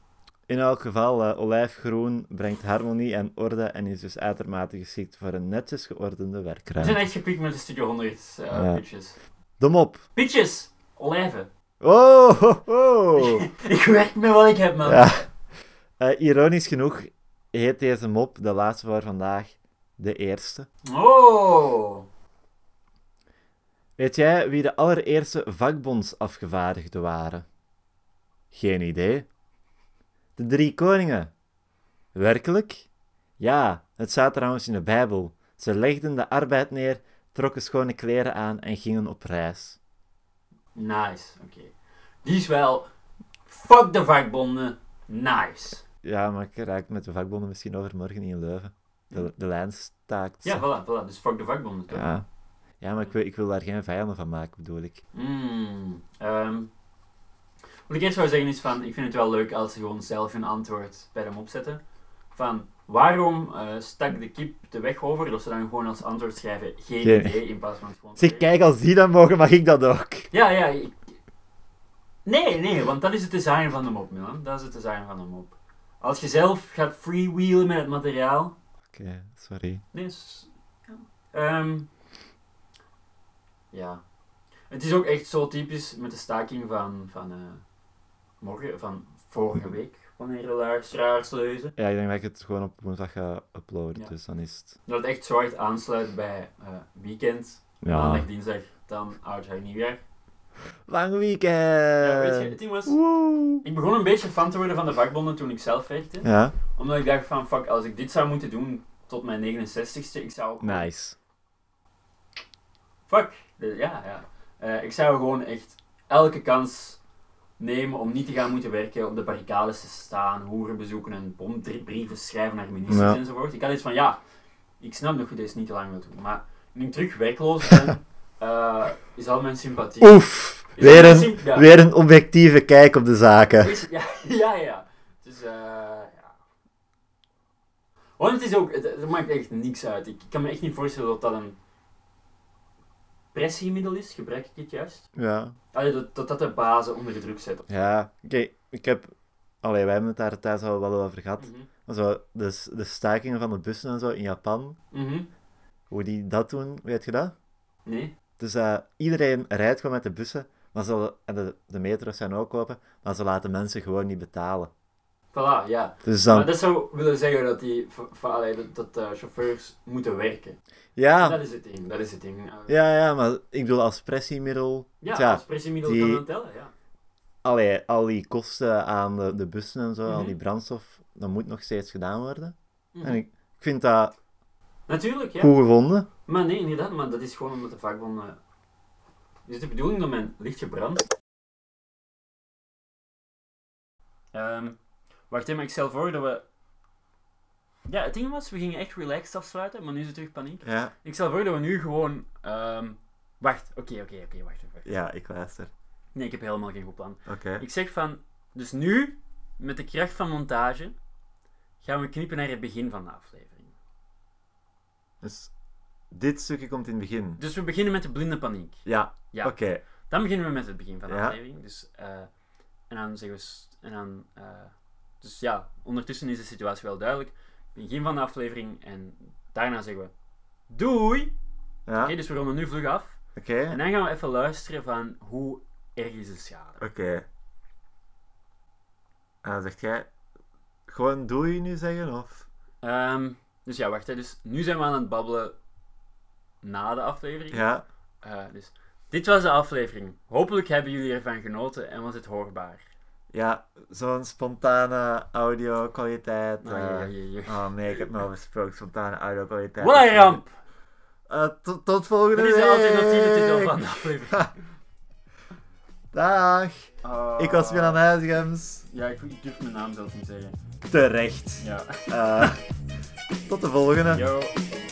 Speaker 2: In elk geval, eh, olijfgroen brengt harmonie en orde en is dus uitermate geschikt voor een netjes geordende
Speaker 1: We zijn
Speaker 2: werkruimte.
Speaker 1: echt gepikt met de Studio 100 eh
Speaker 2: Ja.
Speaker 1: pitches.
Speaker 2: De mop.
Speaker 1: Pitches! Olijven.
Speaker 2: Oh, ho, ho.
Speaker 1: ik werk met wat ik heb, man.
Speaker 2: Ja. Eh, ironisch genoeg heet deze mop, de laatste voor vandaag, de eerste.
Speaker 1: Oh.
Speaker 2: Weet jij wie de allereerste vakbondsafgevaardigden waren? Geen idee. De drie koningen. Werkelijk? Ja, het staat trouwens in de Bijbel. Ze legden de arbeid neer, trokken schone kleren aan en gingen op reis.
Speaker 1: Nice, oké. Die is wel... Fuck de vakbonden. Nice.
Speaker 2: Ja, maar ik raak met de vakbonden misschien overmorgen in Leuven. De, de lijn staakt.
Speaker 1: Ja, voilà, voilà. Dus fuck de vakbonden. toch?
Speaker 2: ja. Ja, maar ik wil, ik wil daar geen vijanden van maken, bedoel ik.
Speaker 1: Mm, ehm, wat ik eerst zou zeggen is van, ik vind het wel leuk als ze gewoon zelf hun antwoord bij de mop zetten. Van, waarom eh, stak de kip de weg over? Dat ze dan gewoon als antwoord schrijven, geen
Speaker 2: Geen-
Speaker 1: idee, in plaats van het gewoon te
Speaker 2: Zeg,
Speaker 1: zeggen.
Speaker 2: kijk, als die dat mogen, mag ik dat ook.
Speaker 1: Ja, ja. ik- Nee, nee, want dat is het design van de mop, Milan. Dat is het design van de mop. Als je zelf gaat freewheelen met het materiaal,
Speaker 2: Oké, sorry.
Speaker 1: Nee, s- Ehm, ja. Het is ook echt zo typisch met de staking van, van eh, morgen, van vorige week, wanneer de luisteraars lezen.
Speaker 2: Ja, ik denk dat ik het gewoon op woensdag ga uploaden,
Speaker 1: Ja.
Speaker 2: dus dan is het...
Speaker 1: Dat het echt zo hard aansluit bij eh, weekend,
Speaker 2: Ah,
Speaker 1: maandag, dinsdag, dan oudjaar, nieuwjaar.
Speaker 2: Lang weekend!
Speaker 1: Ja, weet je, het ding was,
Speaker 2: Woe!
Speaker 1: ik begon een beetje fan te worden van de vakbonden toen ik zelf werkte.
Speaker 2: Ja,
Speaker 1: Omdat ik dacht van, fuck, als ik dit zou moeten doen tot mijn 69ste, ik zou
Speaker 2: nice.
Speaker 1: Fuck. Eh, Ja, ja. Eh, ik zou gewoon echt elke kans nemen om niet te gaan moeten werken, op de barricades te staan, hoeren bezoeken en bombrieven schrijven naar ministers
Speaker 2: Ja.
Speaker 1: enzovoort. Ik had iets van, ja, ik snap dat je deze niet te lang wilt doen, maar nu ik terug werkloos ben, eh, is al mijn sympathie...
Speaker 2: Oef!
Speaker 1: is al
Speaker 2: Weer
Speaker 1: mijn
Speaker 2: een,
Speaker 1: symp- ja.
Speaker 2: weer een objectieve kijk op de zaken.
Speaker 1: Is- ja, ja, ja. Dus, eh ja. Want het is ook, het, het maakt echt niks uit. Ik, ik kan me echt niet voorstellen dat dat een pressiemiddel is, gebruik ik het juist?
Speaker 2: Ja.
Speaker 1: Allee, dat, dat dat de bazen onder de druk zet.
Speaker 2: Ja, oké, ik heb... Allee, wij hebben het daar thuis al wel over gehad.
Speaker 1: Mhm.
Speaker 2: Maar zo, dus de stakingen van de bussen en zo in Japan,
Speaker 1: Mhm.
Speaker 2: hoe die dat doen, weet je dat?
Speaker 1: Nee.
Speaker 2: Dus eh, iedereen rijdt gewoon met de bussen, maar ze, en de, de metro's zijn ook open, maar ze laten mensen gewoon niet betalen.
Speaker 1: Voilà, ja.
Speaker 2: Dus
Speaker 1: Maar
Speaker 2: dan...
Speaker 1: dat zou willen zeggen dat die v- v- allee, dat, dat eh, chauffeurs moeten werken.
Speaker 2: Ja,
Speaker 1: Dat is het ding, dat is het ding. Eh,
Speaker 2: Ah. ja, ja, maar ik bedoel, als pressiemiddel...
Speaker 1: ja,
Speaker 2: tja,
Speaker 1: als pressiemiddel
Speaker 2: die-
Speaker 1: kan dat tellen, ja.
Speaker 2: allee, al die kosten aan de, de bussen en zo, al
Speaker 1: Mhm.
Speaker 2: die brandstof, dat moet nog steeds gedaan worden.
Speaker 1: Mhm.
Speaker 2: En ik, ik vind dat
Speaker 1: Natuurlijk, ja.
Speaker 2: goed gevonden.
Speaker 1: Maar nee, inderdaad, maar dat is gewoon omdat de vakbonden... Is het de bedoeling dat mijn lichtje brandt? Ehm, wacht even, maar ik stel voor dat we... Ja, het ding was, we gingen echt relaxed afsluiten, maar nu is het terug paniek.
Speaker 2: Ja,
Speaker 1: Ik stel voor dat we nu gewoon... ehm, wacht, oké, oké, oké, wacht even. wacht.
Speaker 2: ja, ik luister.
Speaker 1: Nee, ik heb helemaal geen goed plan.
Speaker 2: Oké.
Speaker 1: Ik zeg van... Dus nu, met de kracht van montage, gaan we knippen naar het begin van de aflevering.
Speaker 2: Dus dit stukje komt in het begin.
Speaker 1: Dus we beginnen met de blinde paniek.
Speaker 2: Ja,
Speaker 1: Ja.
Speaker 2: oké.
Speaker 1: Dan beginnen we met het begin van de
Speaker 2: Ja.
Speaker 1: aflevering. Dus, eh, en dan zeggen we... s- En dan, eh, dus ja, ondertussen is de situatie wel duidelijk. Begin van de aflevering en daarna zeggen we... Doei! Oké,
Speaker 2: Ja, oké.
Speaker 1: dus we ronden nu vlug af. En dan gaan we even luisteren van hoe erg is de schade.
Speaker 2: Oké. En dan zegt jij... Gewoon doei nu zeggen, of...
Speaker 1: Ehm, dus ja, wacht. Hè. Dus nu zijn we aan het babbelen na de aflevering.
Speaker 2: Ja.
Speaker 1: Eh, dus dit was de aflevering. Hopelijk hebben jullie ervan genoten en was het hoorbaar.
Speaker 2: Ja, zo'n spontane audio-kwaliteit.
Speaker 1: Ah,
Speaker 2: eh.
Speaker 1: ja, ja, ja.
Speaker 2: Oh nee, ik heb me al besproken. Spontane audio-kwaliteit.
Speaker 1: Wat een ramp!
Speaker 2: Eh, tot- tot volgende
Speaker 1: Dit
Speaker 2: week!
Speaker 1: is de alternatieve titel van de aflevering.
Speaker 2: Dag! Ik was Milan Huizigems.
Speaker 1: Ja, ik, ik durf mijn naam zelfs niet zeggen.
Speaker 2: Terecht.
Speaker 1: Ja.
Speaker 2: Eh, tot de volgende.
Speaker 1: Yo.